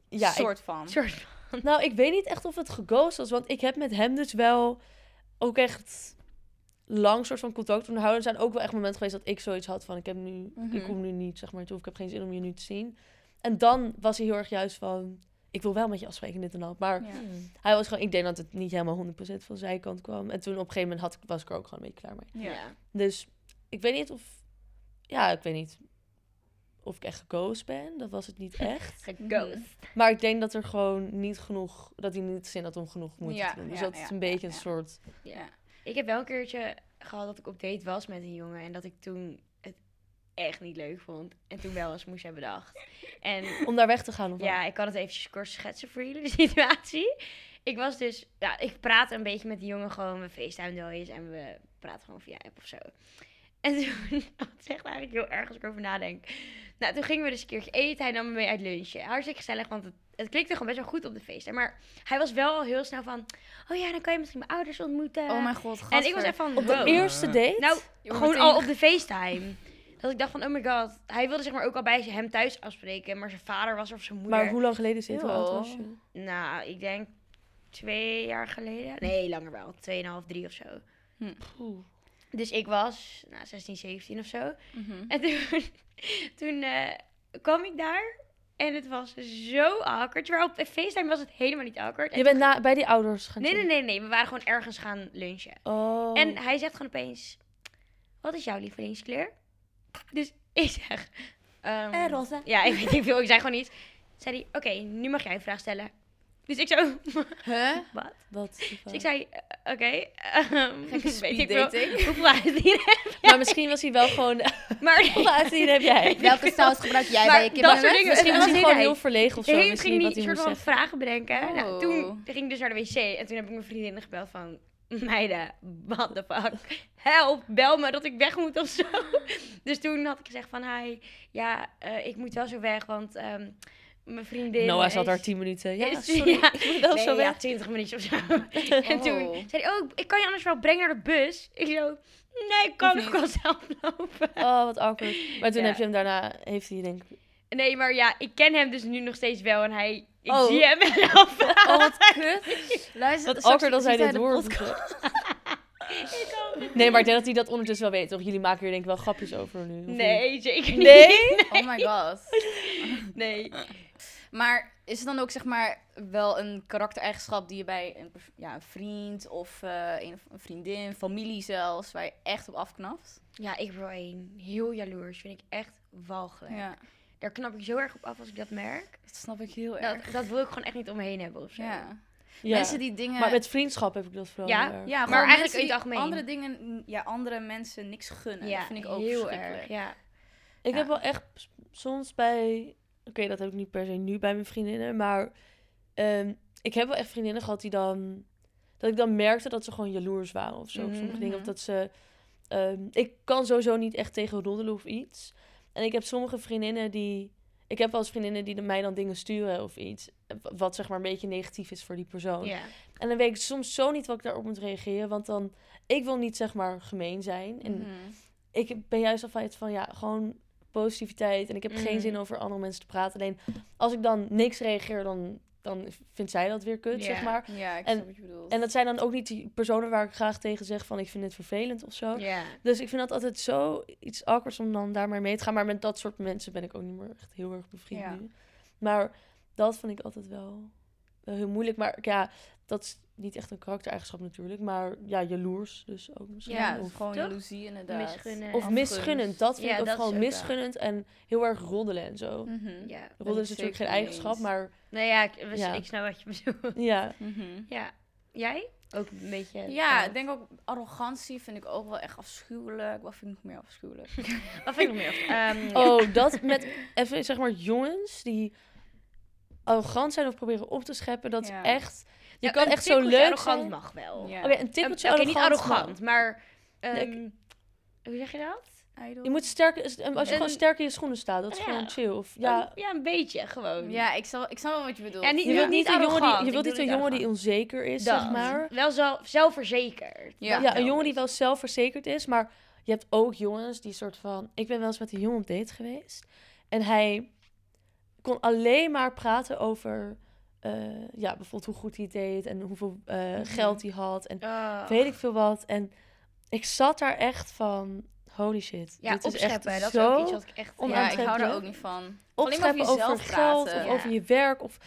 Speaker 3: ja, ik-
Speaker 2: soort van.
Speaker 1: Een soort van.
Speaker 3: nou, ik weet niet echt of het geghost was, want ik heb met hem dus wel ook echt lang soort van contact onderhouden. Er zijn ook wel echt momenten geweest dat ik zoiets had van, ik heb nu,
Speaker 2: Mhm.
Speaker 3: ik kom nu niet, zeg maar, toe, of ik heb geen zin om je nu te zien. En dan was hij heel erg juist van, ik wil wel met je afspreken, dit en dat, maar...
Speaker 2: Ja.
Speaker 3: Hij was gewoon, ik denk dat het niet helemaal 100% van zijn kant kwam. En toen op een gegeven moment had ik, was ik er ook Dus gewoon een beetje klaar mee.
Speaker 2: Ja.
Speaker 1: Ja.
Speaker 3: Dus ik weet niet of, ja, ik weet niet of ik echt geghost ben. Dat was het
Speaker 1: [laughs]
Speaker 3: niet echt.
Speaker 1: Geghost.
Speaker 3: maar ik denk dat er gewoon niet genoeg, dat hij niet zin had om genoeg moeite
Speaker 2: Ja,
Speaker 3: te doen. Dus
Speaker 2: ja,
Speaker 3: dat is
Speaker 2: ja,
Speaker 3: een beetje
Speaker 2: ja,
Speaker 3: een
Speaker 2: ja.
Speaker 3: soort.
Speaker 2: Ja.
Speaker 1: Ik heb wel een keertje gehad dat ik op date was met een jongen en dat ik toen het echt niet leuk vond. En toen wel eens moest hebben bedacht. En
Speaker 3: Om daar weg te gaan. Of wat?
Speaker 1: Ja, ik kan het eventjes kort schetsen voor jullie, [laughs] de situatie. Ik was dus, ja, ik praatte een beetje met die jongen gewoon, we facetimen wel eens en we praten gewoon via app of zo. En toen, [laughs] dat is echt eigenlijk heel erg als ik erover nadenk. Nou, toen gingen we dus een keertje eten, hij nam me mee uit lunchen. Hartstikke gezellig, want het, het klikte gewoon best wel goed op de feest. Maar hij was wel al heel snel van, oh ja, dan kan je misschien mijn ouders ontmoeten.
Speaker 2: Oh mijn god,
Speaker 1: en ik was echt van,
Speaker 3: Op de
Speaker 1: wow.
Speaker 3: eerste date?
Speaker 1: Oh. Nou,
Speaker 2: Je wordt
Speaker 1: gewoon
Speaker 2: meteen-
Speaker 1: al op de FaceTime. Dat ik dacht van, oh my god. Hij wilde zeg maar ook al bij hem thuis afspreken. Maar zijn vader was er of zijn moeder.
Speaker 3: maar hoe lang geleden is dit? Hoe oud was
Speaker 2: Joh.
Speaker 3: je?
Speaker 1: Nou, ik denk twee jaar geleden. Nee, langer wel. Tweeënhalf, drie of zo.
Speaker 3: Oeh.
Speaker 1: Dus ik was nou, 16, 17 of zo. [laughs]
Speaker 2: Mhm.
Speaker 1: En toen, toen eh, kwam ik daar. En het was zo awkward. Terwijl op FaceTime was het helemaal niet awkward. En
Speaker 3: Je bent na, bij die ouders gaan
Speaker 1: Nee, nee,
Speaker 3: zitten?
Speaker 1: nee, nee. We waren gewoon ergens gaan lunchen.
Speaker 3: Oh.
Speaker 1: En hij zegt gewoon opeens: Wat is jouw lievelingskleur? Dus ik zeg: ehm,
Speaker 2: roze.
Speaker 1: Ja, ik weet niet veel, ik zei gewoon iets. Zei hij: Oké, nu mag jij een vraag stellen. Dus [laughs] ik zo:
Speaker 2: Huh? [laughs]
Speaker 1: Wat?
Speaker 3: Wat?
Speaker 1: Dus ik zei: "Eh, Oké, ehm,
Speaker 2: Gekke
Speaker 1: [laughs] weet ik
Speaker 2: speed
Speaker 1: veel.
Speaker 2: dating.
Speaker 1: Hoeveel uit hier? [laughs]
Speaker 3: Maar misschien was hij wel gewoon... [laughs]
Speaker 1: Maar
Speaker 3: Hoeveel uitzien heb
Speaker 2: [laughs]
Speaker 3: jij?
Speaker 2: Welke saus gebruik jij
Speaker 1: Maar
Speaker 2: bij
Speaker 1: [laughs]
Speaker 2: je
Speaker 1: dat soort
Speaker 2: kippennuggets?
Speaker 1: dingen-
Speaker 3: Misschien
Speaker 1: en
Speaker 3: was
Speaker 1: dan
Speaker 3: hij
Speaker 1: deed
Speaker 3: gewoon
Speaker 1: hij-
Speaker 3: heel verlegen of zo.
Speaker 1: Hey, ik
Speaker 3: Wist hij
Speaker 1: ging
Speaker 3: niet wat
Speaker 1: niet
Speaker 3: hij
Speaker 1: een
Speaker 3: moest
Speaker 1: soort van
Speaker 3: zeggen.
Speaker 1: vragen bedenken. Nou, toen
Speaker 2: Oh.
Speaker 1: ging ik dus naar de wc en toen heb ik mijn vriendinnen gebeld van... Meiden, what the fuck? Help, bel me dat ik weg moet of zo. [laughs] Dus toen had ik gezegd van... Hi, ja, eh, ik moet wel zo weg, want ehm, mijn vriendin
Speaker 3: Noah
Speaker 1: is-
Speaker 3: zat daar 10 minuten. Ja,
Speaker 1: is-
Speaker 3: sorry.
Speaker 1: ja.
Speaker 3: [laughs] Ik moet wel
Speaker 1: nee,
Speaker 3: zo
Speaker 1: ja,
Speaker 3: weg.
Speaker 1: 20 minuten of zo.
Speaker 2: [laughs]
Speaker 1: En
Speaker 2: Oh.
Speaker 1: toen zei hij, oh, ik kan je anders wel brengen naar de bus. Ik zo, nee, ik kan
Speaker 2: [laughs] Hoeft
Speaker 1: ook wel zelf lopen.
Speaker 3: Oh, wat awkward. Maar toen
Speaker 1: Ja.
Speaker 3: heb je hem daarna... Heeft hij denk ik...
Speaker 1: Nee, maar ja, ik ken hem dus nu nog steeds wel en hij... Ik
Speaker 3: Oh.
Speaker 1: zie hem en lopen.
Speaker 2: [laughs] Oh, wat kut. Luister,
Speaker 3: Wat
Speaker 2: straks
Speaker 3: awkward als hij
Speaker 2: ziet
Speaker 3: dit
Speaker 2: de
Speaker 3: hoort.
Speaker 2: podcast.
Speaker 3: [laughs] Nee, maar ik denk dat hij dat ondertussen wel weet, toch? Jullie maken hier denk ik wel grapjes over nu. of niet?
Speaker 1: Nee, zeker niet.
Speaker 3: Nee?
Speaker 2: Oh my god.
Speaker 1: Nee.
Speaker 2: Maar is het dan ook zeg maar wel een karaktereigenschap die je bij een, pers- ja, een vriend of eh, een, een vriendin, familie zelfs, waar je echt op afknapt?
Speaker 1: Ja, ik ben wel één. Heel jaloers. Vind ik echt walgelijk. Daar knap ik zo erg op af als ik dat merk.
Speaker 2: dat snap ik heel erg.
Speaker 1: Dat, dat wil ik gewoon echt niet omheen hebben of zo.
Speaker 2: ja.
Speaker 3: Ja.
Speaker 2: Mensen die dingen.
Speaker 3: Maar met vriendschap heb ik dat vooral
Speaker 1: Ja,
Speaker 3: heel erg.
Speaker 2: ja, gewoon
Speaker 1: maar eigenlijk
Speaker 2: mensen
Speaker 1: in het
Speaker 2: die
Speaker 1: algemeen.
Speaker 2: Andere dingen, ja, andere mensen niks gunnen.
Speaker 1: Ja,
Speaker 2: dat vind ik ook
Speaker 1: heel
Speaker 2: verschrikkelijk.
Speaker 1: erg. Ja.
Speaker 3: Ik
Speaker 2: Ja.
Speaker 3: heb wel echt s- soms bij. Oké, dat heb ik niet per se nu bij mijn vriendinnen. Maar ehm, ik heb wel echt vriendinnen gehad die dan. Dat ik dan merkte dat ze gewoon jaloers waren of zo. Op sommige dingen. Of
Speaker 2: Mhm.
Speaker 3: dat ze. ehm, ik kan sowieso niet echt tegen roddelen of iets. En ik heb sommige vriendinnen die. Ik heb wel eens vriendinnen die mij dan dingen sturen of iets. eh, wa- Wat zeg maar een beetje negatief is voor die persoon.
Speaker 1: ja.
Speaker 3: En dan weet ik soms zo niet wat ik daarop moet reageren. Want dan. Ik wil niet zeg maar gemeen zijn. En
Speaker 2: Mhm.
Speaker 3: ik ben juist al van het van ja, gewoon positiviteit. En ik heb geen
Speaker 1: Mm.
Speaker 3: zin over andere mensen te praten. Alleen als ik dan niks reageer, dan, dan vindt zij dat weer kut,
Speaker 1: Ja.
Speaker 3: zeg maar.
Speaker 2: Ja, ik
Speaker 3: En-
Speaker 2: snap wat je bedoelt.
Speaker 3: En dat zijn dan ook niet die personen waar ik graag tegen zeg van ik vind dit vervelend of zo.
Speaker 1: ja.
Speaker 3: Dus ik vind dat altijd zo iets awkwards om dan daar maar mee te gaan. Maar met dat soort mensen ben ik ook niet meer echt heel erg bevriend
Speaker 2: Ja.
Speaker 3: nu. Maar dat vond ik altijd wel, wel heel moeilijk. Maar ja, dat is niet echt een karaktereigenschap natuurlijk. Maar ja, jaloers dus ook misschien.
Speaker 2: ja,
Speaker 3: Of-
Speaker 2: gewoon
Speaker 1: toch?
Speaker 2: jaloezie inderdaad.
Speaker 1: Misgunnen.
Speaker 3: of
Speaker 2: Afgunst.
Speaker 3: misgunnend, dat vind
Speaker 1: Ja,
Speaker 3: ik ook
Speaker 1: dat is
Speaker 3: gewoon
Speaker 1: ook Mm, wel.
Speaker 3: misgunnend en heel erg roddelen en zo.
Speaker 2: Mhm.
Speaker 1: ja.
Speaker 3: Roddelen is
Speaker 2: ik
Speaker 3: natuurlijk
Speaker 2: zeker
Speaker 3: geen
Speaker 2: mee
Speaker 3: eigenschap,
Speaker 2: eens.
Speaker 1: [laughs]
Speaker 3: maar
Speaker 1: Nou ja, ik, we-
Speaker 3: Ja.
Speaker 1: ik snap wat je bedoelt. [laughs]
Speaker 3: ja.
Speaker 2: Mhm.
Speaker 1: Ja. Jij? Ook een beetje. eh,
Speaker 2: Ja,
Speaker 1: dat.
Speaker 2: ik denk ook arrogantie vind ik ook wel echt afschuwelijk. Wat vind ik nog meer afschuwelijk?
Speaker 1: Wat vind ik nog
Speaker 3: [laughs]
Speaker 1: meer? Ehm, ja.
Speaker 3: Oh, dat met even zeg maar jongens die arrogant zijn of proberen op te scheppen, dat
Speaker 2: Ja.
Speaker 3: is echt. Je
Speaker 1: Ja,
Speaker 3: kan
Speaker 1: een
Speaker 3: echt zo
Speaker 1: tikkeltje
Speaker 3: leuk
Speaker 1: arrogant
Speaker 3: zijn.
Speaker 1: mag wel.
Speaker 2: Ja.
Speaker 3: Oké, een
Speaker 1: Ehm,
Speaker 3: tikkeltje
Speaker 1: Oké, niet
Speaker 3: arrogant. mag.
Speaker 1: arrogant, maar...
Speaker 3: ik-
Speaker 1: ehm, hoe zeg je dat?
Speaker 2: Idol.
Speaker 3: Je moet sterk, um, als je gewoon
Speaker 1: Een-
Speaker 3: sterk in je schoenen staat, dat is
Speaker 1: Ja.
Speaker 3: gewoon chill. Of, ja,
Speaker 1: Een, ja, een beetje gewoon.
Speaker 2: Ja, ik snap, ik snap wel wat je bedoelt.
Speaker 1: Ja, niet-
Speaker 3: je
Speaker 1: je
Speaker 3: wilt
Speaker 1: wilt
Speaker 3: niet
Speaker 1: niet
Speaker 3: een jongen die,
Speaker 1: arrogant.
Speaker 3: je
Speaker 1: Ik
Speaker 3: wilt
Speaker 1: doe
Speaker 3: niet een
Speaker 1: niet
Speaker 3: jongen die onzeker is,
Speaker 1: Dat.
Speaker 3: zeg maar.
Speaker 1: Wel zelf, zelfverzekerd.
Speaker 2: Ja.
Speaker 3: ja, een jongen die wel zelfverzekerd is, maar je hebt ook jongens die soort van... Ik ben wel eens met een jongen op date geweest en hij kon alleen maar praten over, eh, ja, bijvoorbeeld hoe goed hij het deed en hoeveel eh,
Speaker 1: Mhm.
Speaker 3: geld hij had en
Speaker 1: Oh.
Speaker 3: weet ik veel wat. En ik zat daar echt van, holy shit,
Speaker 1: Ja,
Speaker 3: dit is echt
Speaker 1: opscheppen. Dat is
Speaker 3: zo
Speaker 1: ook iets wat ik echt...
Speaker 3: onaantrekkelijk.
Speaker 2: Ja, ik hou daar
Speaker 3: onaantrekkelijk.
Speaker 2: ook niet van. Alleen maar
Speaker 3: opscheppen
Speaker 2: over jezelf
Speaker 3: over, geld
Speaker 2: praten.
Speaker 3: of
Speaker 1: Ja.
Speaker 3: over je werk of...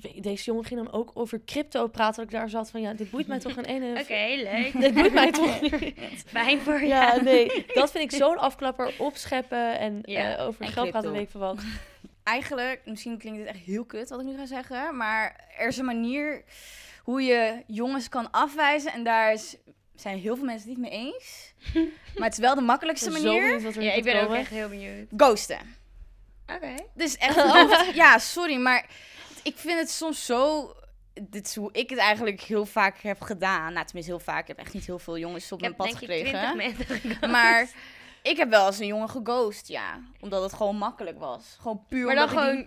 Speaker 3: weet- deze jongen ging dan ook over crypto praten. Dat ik daar zat van, ja, dit boeit mij toch geen
Speaker 1: [laughs]
Speaker 3: ene...
Speaker 1: Oké, leuk.
Speaker 3: Dit boeit
Speaker 1: [laughs]
Speaker 3: mij toch niet.
Speaker 1: Fijn voor jou.
Speaker 3: [laughs] Ja, nee. Dat vind ik zo'n afklapper. Opscheppen en
Speaker 1: Ja,
Speaker 3: eh, over
Speaker 2: en
Speaker 3: geld
Speaker 2: crypto.
Speaker 3: praten, weet ik veel wat.
Speaker 2: Eigenlijk, misschien klinkt het echt heel kut wat ik nu ga zeggen, maar er is een manier hoe je jongens kan afwijzen en daar is, zijn heel veel mensen het niet mee eens.
Speaker 3: [laughs]
Speaker 2: Maar het is wel de makkelijkste
Speaker 3: ben
Speaker 2: manier.
Speaker 3: Zo benieuwd wat
Speaker 1: [laughs]
Speaker 3: er
Speaker 1: Ja,
Speaker 3: gaat
Speaker 1: ik ben ook
Speaker 3: komen.
Speaker 1: echt heel benieuwd.
Speaker 2: Ghosten.
Speaker 1: Oké.
Speaker 2: Dus
Speaker 3: [laughs]
Speaker 2: echt, een hoofd- ja, sorry, maar ik vind het soms zo. Dit is hoe ik het eigenlijk heel vaak heb gedaan. Nou, tenminste heel vaak. Ik heb echt niet heel veel jongens op
Speaker 1: Ik
Speaker 2: mijn
Speaker 1: heb
Speaker 2: pad
Speaker 1: denk ik
Speaker 2: gekregen.
Speaker 1: 20 mensen [laughs] geghost.
Speaker 2: Maar ik heb wel eens een jongen geghost, ja. Omdat het gewoon makkelijk was. Gewoon puur
Speaker 1: Maar dan
Speaker 2: omdat ik
Speaker 1: gewoon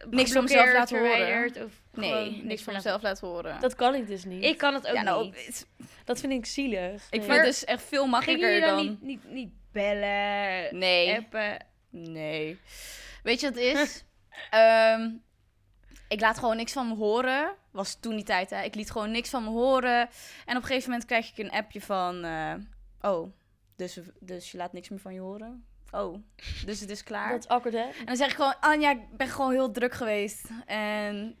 Speaker 1: eh,
Speaker 2: niks van mezelf
Speaker 1: geblokkeerd,
Speaker 2: laten horen.
Speaker 1: verwijderd Of
Speaker 2: die- Nee,
Speaker 1: gewoon
Speaker 2: niks
Speaker 1: laten-
Speaker 2: van mezelf laten horen.
Speaker 3: Dat kan ik dus niet.
Speaker 1: Ik kan het ook
Speaker 2: ja, nou,
Speaker 1: niet.
Speaker 2: het-
Speaker 3: Dat vind ik zielig.
Speaker 2: ik
Speaker 3: Nee.
Speaker 2: vind het dus echt veel
Speaker 1: Gingen
Speaker 2: makkelijker
Speaker 1: jullie
Speaker 2: dan...
Speaker 1: dan, Niet, niet, niet bellen,
Speaker 2: Nee.
Speaker 1: appen?
Speaker 2: Nee. Weet je wat het
Speaker 1: [laughs]
Speaker 2: is? Ehm, ik laat gewoon niks van me horen. Was toen die tijd, hè. Ik liet gewoon niks van me horen. En op een gegeven moment krijg ik een appje van... eh, oh, dus, dus je laat niks meer van je horen? Oh, dus het is klaar.
Speaker 3: Dat is awkward, hè?
Speaker 2: En dan zeg ik gewoon... Anja, ik ben gewoon heel druk geweest. En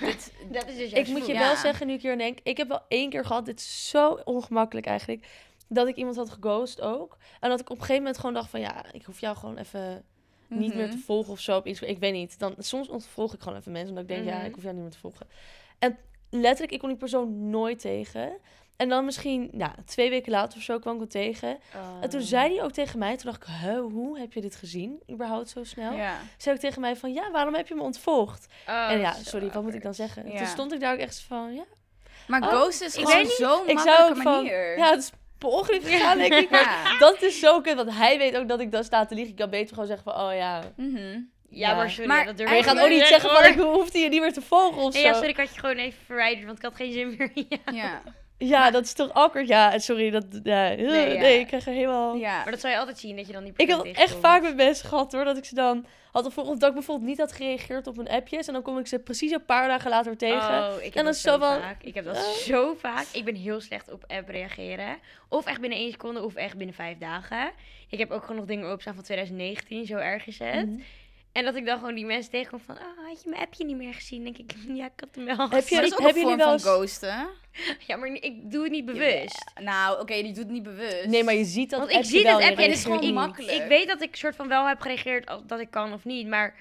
Speaker 2: dit...
Speaker 1: Dat is dus
Speaker 3: Ik
Speaker 1: juist
Speaker 3: moet je
Speaker 1: vroeg.
Speaker 2: Ja.
Speaker 3: wel zeggen, nu ik hier denk, ik heb wel één keer gehad, dit is zo ongemakkelijk eigenlijk, dat ik iemand had geghost ook. En dat ik op een gegeven moment gewoon dacht van, ja, ik hoef jou gewoon even niet meer te
Speaker 2: Mhm.
Speaker 3: volgen of zo op Instagram. Ik weet niet. Dan, soms ontvolg ik gewoon even mensen, omdat ik denk, ja,
Speaker 1: Mhm.
Speaker 3: ik hoef jou niet meer te volgen. En letterlijk, ik kon die persoon nooit tegen. En dan misschien, ja, twee weken later of zo kwam ik hem tegen.
Speaker 1: Oh.
Speaker 3: En toen zei hij ook tegen mij, toen dacht ik, "Huh, hoe heb je dit gezien, überhaupt zo snel?
Speaker 2: Ja.
Speaker 3: Zei ook tegen mij van, ja, waarom heb je me ontvolgd?
Speaker 1: Oh,
Speaker 3: en ja,
Speaker 1: zo
Speaker 3: sorry, wat moet
Speaker 1: awkward.
Speaker 3: ik dan zeggen?
Speaker 2: Ja.
Speaker 3: Toen stond ik daar ook echt van, ja,
Speaker 2: Maar
Speaker 3: Oh,
Speaker 2: ghost is
Speaker 1: ik
Speaker 2: gewoon
Speaker 1: weet niet.
Speaker 2: zo'n
Speaker 3: ik zou
Speaker 2: makkelijke
Speaker 3: ook van,
Speaker 2: manier.
Speaker 3: ja, het is per ongeluk gegaan, denk ik. Maar
Speaker 2: Ja.
Speaker 3: dat is zo kut, want hij weet ook dat ik dan sta te liegen. Ik kan beter gewoon zeggen van, oh ja.
Speaker 2: Mhm.
Speaker 1: Ja,
Speaker 3: Ja.
Speaker 1: maar sorry,
Speaker 2: Maar
Speaker 1: ja, dat durf
Speaker 3: Maar je
Speaker 1: ik
Speaker 3: gaat ook niet zeggen van,
Speaker 1: hoor.
Speaker 3: ik hoefde je niet meer te volgen of zo.
Speaker 1: Nee, ja, sorry, ik had je gewoon even verwijderd, want ik had geen zin [laughs] meer in je.
Speaker 2: ja.
Speaker 3: Ja, dat is toch awkward. Ja, sorry, dat... Ja, eh, nee,
Speaker 1: ja.
Speaker 3: ik krijg er helemaal...
Speaker 2: Ja.
Speaker 1: Maar dat zou je altijd zien, dat je dan niet
Speaker 3: Ik heb dat echt vaak met mensen gehad, hoor. Dat ik ze dan... Had of dat ik bijvoorbeeld niet had gereageerd op hun appjes. En dan kom ik ze precies een paar dagen later weer tegen.
Speaker 1: Oh, ik heb
Speaker 3: dan
Speaker 1: dat
Speaker 3: is
Speaker 1: zo
Speaker 3: zo van-
Speaker 1: vaak. Ik heb dat
Speaker 3: Oh.
Speaker 1: zo vaak. Ik ben heel slecht op app reageren. Of echt binnen één seconde, of echt binnen vijf dagen. Ik heb ook gewoon nog dingen openstaan van 2019, zo erg is het.
Speaker 3: Mhm.
Speaker 1: En dat ik dan gewoon die mensen tegenkom van, oh, had je mijn appje niet meer gezien? Dan denk ik, [laughs] ja, ik had hem wel
Speaker 3: Heb je-
Speaker 1: gezien.
Speaker 2: Maar dat is ook
Speaker 3: Hebben
Speaker 2: een
Speaker 3: jullie
Speaker 2: vorm
Speaker 3: wel
Speaker 2: van
Speaker 3: eens-
Speaker 2: ghosten.
Speaker 1: Ja, maar ik doe het niet bewust.
Speaker 2: Nou, oké, je doet het niet bewust.
Speaker 3: Nee, maar je ziet dat
Speaker 1: Want ik
Speaker 3: appje
Speaker 1: zie
Speaker 3: wel
Speaker 1: dat
Speaker 3: en je
Speaker 1: appje en het is
Speaker 3: reageert
Speaker 1: gewoon
Speaker 2: niet.
Speaker 3: niet.
Speaker 1: makkelijk. Ik weet dat ik soort van wel heb gereageerd als- dat ik kan of niet, maar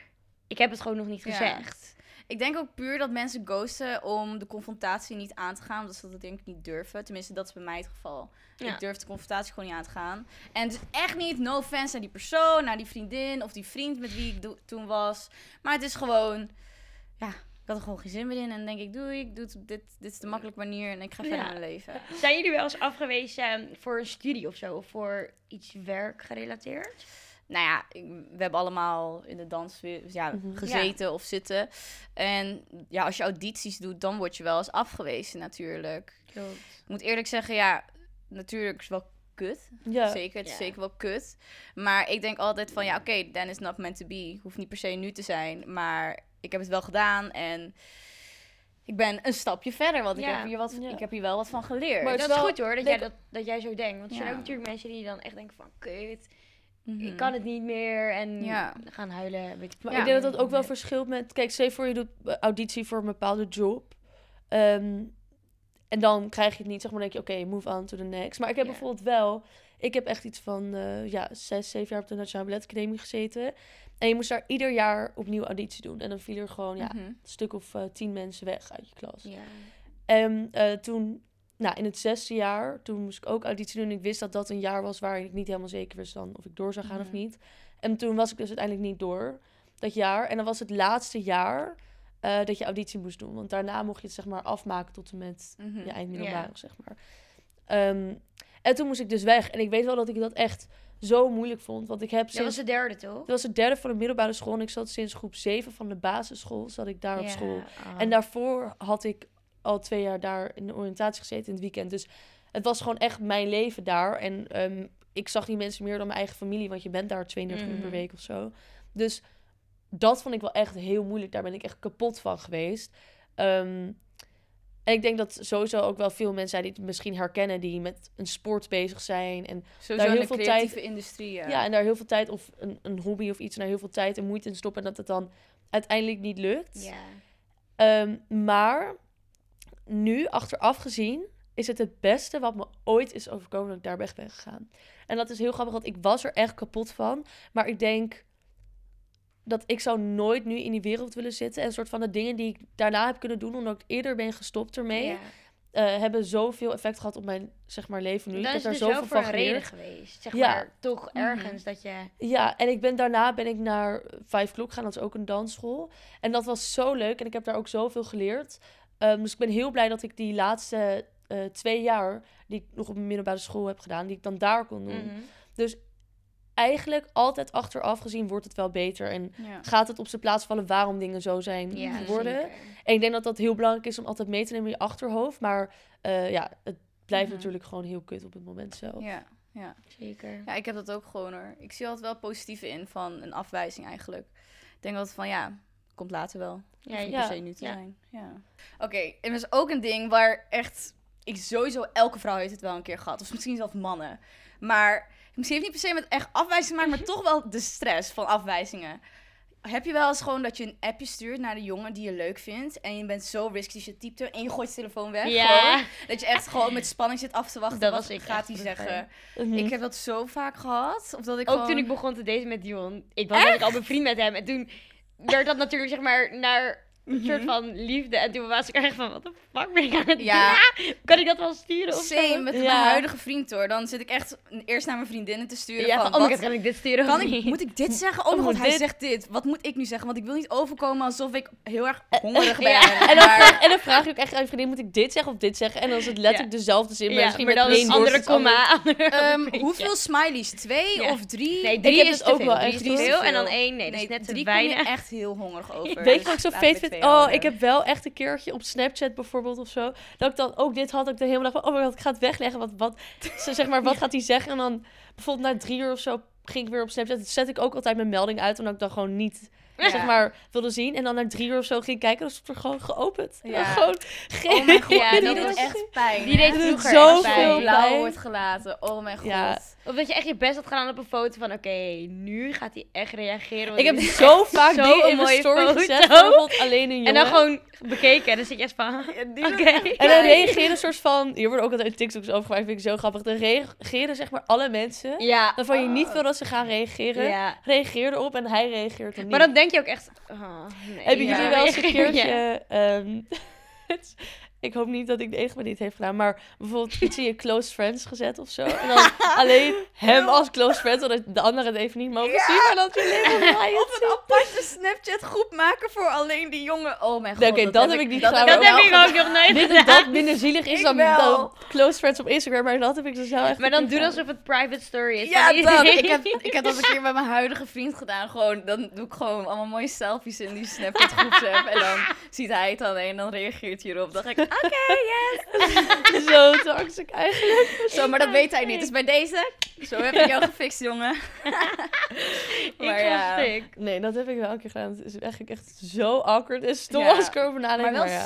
Speaker 1: ik heb het gewoon nog niet
Speaker 2: Ja.
Speaker 1: gezegd.
Speaker 2: Ik denk ook puur dat mensen ghosten om de confrontatie niet aan te gaan. Omdat ze dat denk ik niet durven. Tenminste, dat is bij mij het geval.
Speaker 1: Ja.
Speaker 2: Ik durf de confrontatie gewoon niet aan te gaan. En het is echt niet no offense naar die persoon, naar die vriendin of die vriend met wie ik do- toen was. Maar het is gewoon, ja, ik had er gewoon geen zin meer in. En dan denk ik, doei, ik doe het op dit, dit is de makkelijke manier en ik ga verder
Speaker 1: Ja.
Speaker 2: met mijn leven.
Speaker 1: Zijn jullie wel eens afgewezen eh, voor een studie of zo? Of voor iets werk gerelateerd?
Speaker 2: nou ja, ik- we hebben allemaal in de dans ja,
Speaker 3: Mhm.
Speaker 2: gezeten of zitten. En ja, als je audities doet, dan word je wel eens afgewezen natuurlijk. Ik moet eerlijk zeggen, ja, natuurlijk is wel kut.
Speaker 3: Ja.
Speaker 2: Zeker, het is
Speaker 1: Ja.
Speaker 2: zeker wel kut. Maar ik denk altijd van, ja, oké, then it's not meant to be. Hoeft niet per se nu te zijn, maar ik heb het wel gedaan en... Ik ben een stapje verder, want ik,
Speaker 1: Ja.
Speaker 2: heb hier wat,
Speaker 3: Ja.
Speaker 2: ik heb hier wel wat van geleerd.
Speaker 3: Maar
Speaker 1: Dat
Speaker 3: het
Speaker 1: is
Speaker 3: is wel-
Speaker 1: goed hoor, dat,
Speaker 3: denk-
Speaker 1: jij, dat, dat jij zo denkt. Want er zijn
Speaker 2: Ja.
Speaker 1: ook natuurlijk mensen die dan echt denken van... Kut,
Speaker 2: Mhm.
Speaker 1: ik kan het niet meer. En
Speaker 2: Ja.
Speaker 1: gaan huilen. Weet ik, veel.
Speaker 3: Maar
Speaker 2: Ja.
Speaker 3: ik denk dat dat ook wel verschilt met... Kijk, stel je voor je doet eh, auditie voor een bepaalde job. Ehm, en dan krijg je het niet. Zeg maar dan denk je, oké, move on to the next. Maar ik heb
Speaker 2: Ja.
Speaker 3: bijvoorbeeld wel... Ik heb echt iets van eh, ja, zes, zeven jaar op de Nationale Balletacademie gezeten. En je moest daar ieder jaar opnieuw auditie doen. En dan viel er gewoon ja,
Speaker 2: Mhm.
Speaker 3: een stuk of eh, tien mensen weg uit je klas.
Speaker 1: Ja.
Speaker 3: En eh, toen, nou, in het zesde jaar, toen moest ik ook auditie doen. Ik wist dat dat een jaar was waarin ik niet helemaal zeker wist dan of ik door zou gaan
Speaker 2: Mhm.
Speaker 3: of niet. En toen was ik dus uiteindelijk niet door dat jaar. En dan was het laatste jaar eh, dat je auditie moest doen. Want daarna mocht je het zeg maar afmaken tot en met
Speaker 2: Mhm.
Speaker 1: Mm,
Speaker 3: ja, eind middelbare, zeg maar. Ehm, en toen moest ik dus weg. En ik weet wel dat ik dat echt zo moeilijk vond. Want ik heb
Speaker 1: Dat
Speaker 3: sinds...
Speaker 1: was de derde toch?
Speaker 3: Dat was het derde van de middelbare school. En ik zat sinds groep 7 van de basisschool, zat ik daar op
Speaker 1: Ja.
Speaker 3: school.
Speaker 1: Ah.
Speaker 3: En daarvoor had ik al twee jaar daar in de oriëntatie gezeten in het weekend. Dus het was gewoon echt mijn leven daar. En ehm, ik zag die mensen meer dan mijn eigen familie, want je bent daar 32 uur
Speaker 1: Mhm.
Speaker 3: per week of zo. Dus dat vond ik wel echt heel moeilijk. Daar ben ik echt kapot van geweest. Ehm, en ik denk dat sowieso ook wel veel mensen zijn die het misschien herkennen, die met een sport bezig zijn. En
Speaker 2: Sowieso
Speaker 3: heel
Speaker 2: in de
Speaker 3: veel
Speaker 2: creatieve industrie, ja.
Speaker 3: ja. en daar heel veel tijd, of een, een hobby of iets, en daar heel veel tijd en moeite in stoppen. En dat het dan uiteindelijk niet lukt.
Speaker 1: Ja.
Speaker 3: Ehm, maar nu, achteraf gezien, is het het beste wat me ooit is overkomen dat ik daar weg ben gegaan. En dat is heel grappig, want ik was er echt kapot van. Maar ik denk dat ik zou nooit nu in die wereld willen zitten. En soort van de dingen die ik daarna heb kunnen doen, omdat ik eerder ben gestopt ermee,
Speaker 1: Ja.
Speaker 3: eh, hebben zoveel effect gehad op mijn zeg maar, leven nu.
Speaker 1: Dan
Speaker 3: ik heb
Speaker 1: is het dus
Speaker 3: daar
Speaker 1: wel
Speaker 3: zoveel
Speaker 1: voor
Speaker 3: van
Speaker 1: een reden
Speaker 3: geleerd.
Speaker 1: geweest. Zeg
Speaker 3: Ja. Mhm.
Speaker 1: maar, toch ergens dat je...
Speaker 3: Ja, en ik ben daarna ben ik naar Vijf Klok gaan. Dat is ook een dansschool. En dat was zo leuk. En ik heb daar ook zoveel geleerd. Ehm, dus ik ben heel blij dat ik die laatste eh, twee jaar... die ik nog op mijn middelbare school heb gedaan... die ik dan daar kon doen.
Speaker 1: Mhm.
Speaker 3: Eigenlijk altijd achteraf gezien wordt het wel beter. En
Speaker 2: Ja.
Speaker 3: gaat het op zijn plaats vallen waarom dingen zo zijn
Speaker 1: Ja,
Speaker 3: geworden.
Speaker 1: zeker.
Speaker 3: En ik denk dat dat heel belangrijk is om altijd mee te nemen in je achterhoofd. Maar eh, ja, het blijft
Speaker 2: Mhm.
Speaker 3: natuurlijk gewoon heel kut op het moment zelf.
Speaker 2: Ja.
Speaker 1: Zeker.
Speaker 2: ja, ik heb dat ook gewoon hoor. Ik zie altijd wel positieve in van een afwijzing eigenlijk. Ik denk altijd van ja, komt later wel.
Speaker 1: Ja,
Speaker 2: Hoeft niet
Speaker 3: ja,
Speaker 2: per se nu te
Speaker 1: ja.
Speaker 2: zijn. Ja. Oké, en dat is ook een ding waar echt... Ik sowieso, elke vrouw heeft het wel een keer gehad. Of misschien zelfs mannen. Maar misschien heeft het niet per se met echt afwijzingen te maken...
Speaker 1: Mhm.
Speaker 2: maar toch wel de stress van afwijzingen. Heb je wel eens gewoon dat je een appje stuurt naar de jongen die je leuk vindt... en je bent zo risky dat je typt hem en je gooit je telefoon weg?
Speaker 1: Ja.
Speaker 2: gewoon? dat je echt gewoon met spanning zit af te wachten.
Speaker 1: Dat
Speaker 2: wat
Speaker 1: was ik
Speaker 2: gaat
Speaker 1: echt
Speaker 2: hij
Speaker 1: vroeger.
Speaker 2: zeggen?
Speaker 3: Mhm.
Speaker 2: Ik heb dat zo vaak gehad. Of dat ik
Speaker 1: ook
Speaker 2: gewoon...
Speaker 1: toen ik begon te daten met Dion. Ik was natuurlijk al bevriend met hem. En toen werd dat natuurlijk zeg maar naar een soort
Speaker 3: Mhm.
Speaker 1: van liefde. En toen was ik echt van, wat de fuck ben ik aan het
Speaker 2: Ja.
Speaker 1: doen? Kan ik dat wel sturen of zo?
Speaker 2: Same met
Speaker 3: Ja.
Speaker 2: mijn huidige vriend hoor. Dan zit ik echt eerst naar mijn vriendinnen te sturen.
Speaker 1: Ja,
Speaker 2: van,
Speaker 1: van, oh my
Speaker 2: wat-
Speaker 1: god, kan ik dit sturen
Speaker 2: Kan
Speaker 1: of
Speaker 2: ik,
Speaker 1: [laughs] niet?
Speaker 2: moet ik dit zeggen? Oh mijn
Speaker 3: Oh,
Speaker 2: god, hij
Speaker 3: dit-
Speaker 2: zegt dit. Wat moet ik nu zeggen? Want ik wil niet overkomen alsof ik heel erg
Speaker 1: Eh, [laughs]
Speaker 2: hongerig ben.
Speaker 3: En
Speaker 2: Maar
Speaker 3: dan, vraag, en dan vraag je ook echt aan je vriendin, moet ik dit zeggen of dit zeggen? En dan is het letterlijk dezelfde zin, maar
Speaker 1: ja,
Speaker 3: misschien
Speaker 1: maar
Speaker 3: met
Speaker 1: dan is
Speaker 3: één
Speaker 1: andere
Speaker 3: woord iets anders.
Speaker 1: komma. [laughs] andere-
Speaker 2: ehm,
Speaker 1: puntje.
Speaker 2: hoeveel smileys? Twee
Speaker 1: Ja.
Speaker 2: of drie?
Speaker 1: Nee, drie
Speaker 3: heb
Speaker 1: is
Speaker 3: het
Speaker 1: te
Speaker 3: ook
Speaker 1: veel.
Speaker 3: wel
Speaker 1: Drie
Speaker 3: echt
Speaker 1: is
Speaker 3: hoor.
Speaker 1: te veel en dan
Speaker 2: Nee,
Speaker 1: één. Nee, dat is net te
Speaker 2: drie kom je
Speaker 1: weinig.
Speaker 2: echt heel
Speaker 1: [laughs]
Speaker 2: hongerig over.
Speaker 3: Weet je wat ik
Speaker 2: Laten we
Speaker 3: zo vet
Speaker 2: twee
Speaker 3: vind? Oh,
Speaker 2: houden.
Speaker 3: ik heb wel echt een keertje op Snapchat bijvoorbeeld of zo, dat ik dan ook dit had, dat ik dan helemaal dacht van, oh my god, ik ga het wegleggen, want wat, ze- zeg
Speaker 1: [laughs]
Speaker 3: maar, wat gaat hij zeggen? En dan bijvoorbeeld na drie uur of zo ging ik weer op Snapchat, dat zet ik ook altijd mijn melding uit, omdat ik dan gewoon niet,
Speaker 2: Ja.
Speaker 3: zeg maar, wilde zien. En dan na drie uur of zo ging ik kijken, dan stond er gewoon geopend.
Speaker 2: Ja.
Speaker 3: [laughs] Gewoon geen
Speaker 2: Oh mijn god,
Speaker 1: Ja,
Speaker 2: die
Speaker 1: dat
Speaker 2: doet
Speaker 1: was-
Speaker 2: echt pijn.
Speaker 1: Die deed
Speaker 2: hè?
Speaker 3: doet
Speaker 1: vroeger
Speaker 3: zoveel
Speaker 1: echt pijn.
Speaker 2: Zo blauw
Speaker 3: pijn.
Speaker 2: wordt gelaten. Oh mijn god.
Speaker 3: Ja.
Speaker 1: Of dat je echt je best had gedaan op een foto van, oké, nu gaat hij echt reageren. want [laughs]
Speaker 3: Ik heb
Speaker 1: dit is
Speaker 3: zo
Speaker 1: echt
Speaker 3: vaak
Speaker 1: zo'n
Speaker 3: dingen in mijn
Speaker 1: mooie
Speaker 3: story
Speaker 1: foto.
Speaker 3: gezet. Bijvoorbeeld alleen een jongen.
Speaker 1: En dan gewoon bekeken. En dan zit je echt van,
Speaker 2: die
Speaker 1: oké.
Speaker 3: En dan reageren een soort van... Hier worden ook altijd TikToks over gemaakt, vind ik zo grappig. Dan reageren zeg maar alle mensen...
Speaker 1: Ja.
Speaker 3: waarvan je niet wil dat ze gaan reageren.
Speaker 1: Ja.
Speaker 3: Reageer erop en hij reageert dan niet.
Speaker 1: Maar dan denk je ook echt, oh, nee.
Speaker 3: Hebben
Speaker 1: ja.
Speaker 3: jullie wel eens een
Speaker 1: Ja.
Speaker 3: keertje... ehm, [laughs] het is- ik hoop niet dat ik de enige ben die het heeft gedaan. Maar bijvoorbeeld iets in je close friends gezet of zo. En
Speaker 1: [laughs]
Speaker 3: dan alleen hem als close friend. Zodat de anderen het even niet mogen
Speaker 2: Ja.
Speaker 3: zien. Maar dat
Speaker 1: [laughs]
Speaker 3: je alleen maar mij het
Speaker 2: Of een aparte Snapchat groep maken voor alleen die jongen. Oh mijn god.
Speaker 3: Nee, oké, dat heb ik niet gedaan,
Speaker 1: Dat
Speaker 3: maar
Speaker 1: heb ik
Speaker 2: wel
Speaker 1: ook nog nooit
Speaker 3: Dit
Speaker 1: gedaan.
Speaker 3: en dat minder zielig is
Speaker 2: Ik
Speaker 3: dan,
Speaker 2: wel.
Speaker 3: dan close friends op Instagram. Maar dat heb ik dus wel echt
Speaker 1: Maar dan
Speaker 3: niet
Speaker 1: doe
Speaker 3: gedaan.
Speaker 1: alsof het private story is. van
Speaker 2: Ja,
Speaker 1: [laughs]
Speaker 2: dat.
Speaker 1: iedereen.
Speaker 2: Ik heb, ik heb dat een keer bij mijn huidige vriend gedaan. Gewoon, dan doe ik gewoon allemaal mooie selfies in die Snapchat groepsapp. En dan ziet hij het alleen en dan reageert hij erop. Dan ga ik, "Ah, oké, yes.
Speaker 3: [laughs] Zo toxic eigenlijk.
Speaker 2: Zo, maar dat weet hij niet. Dus bij deze, zo heb ik jou gefixt, jongen.
Speaker 1: Ik ga stuk.
Speaker 3: Nee, dat heb ik wel een keer gedaan. Het is eigenlijk echt zo awkward en stom
Speaker 2: Ja,
Speaker 3: als ik erover nadenk.
Speaker 2: Maar wel
Speaker 3: maar ja.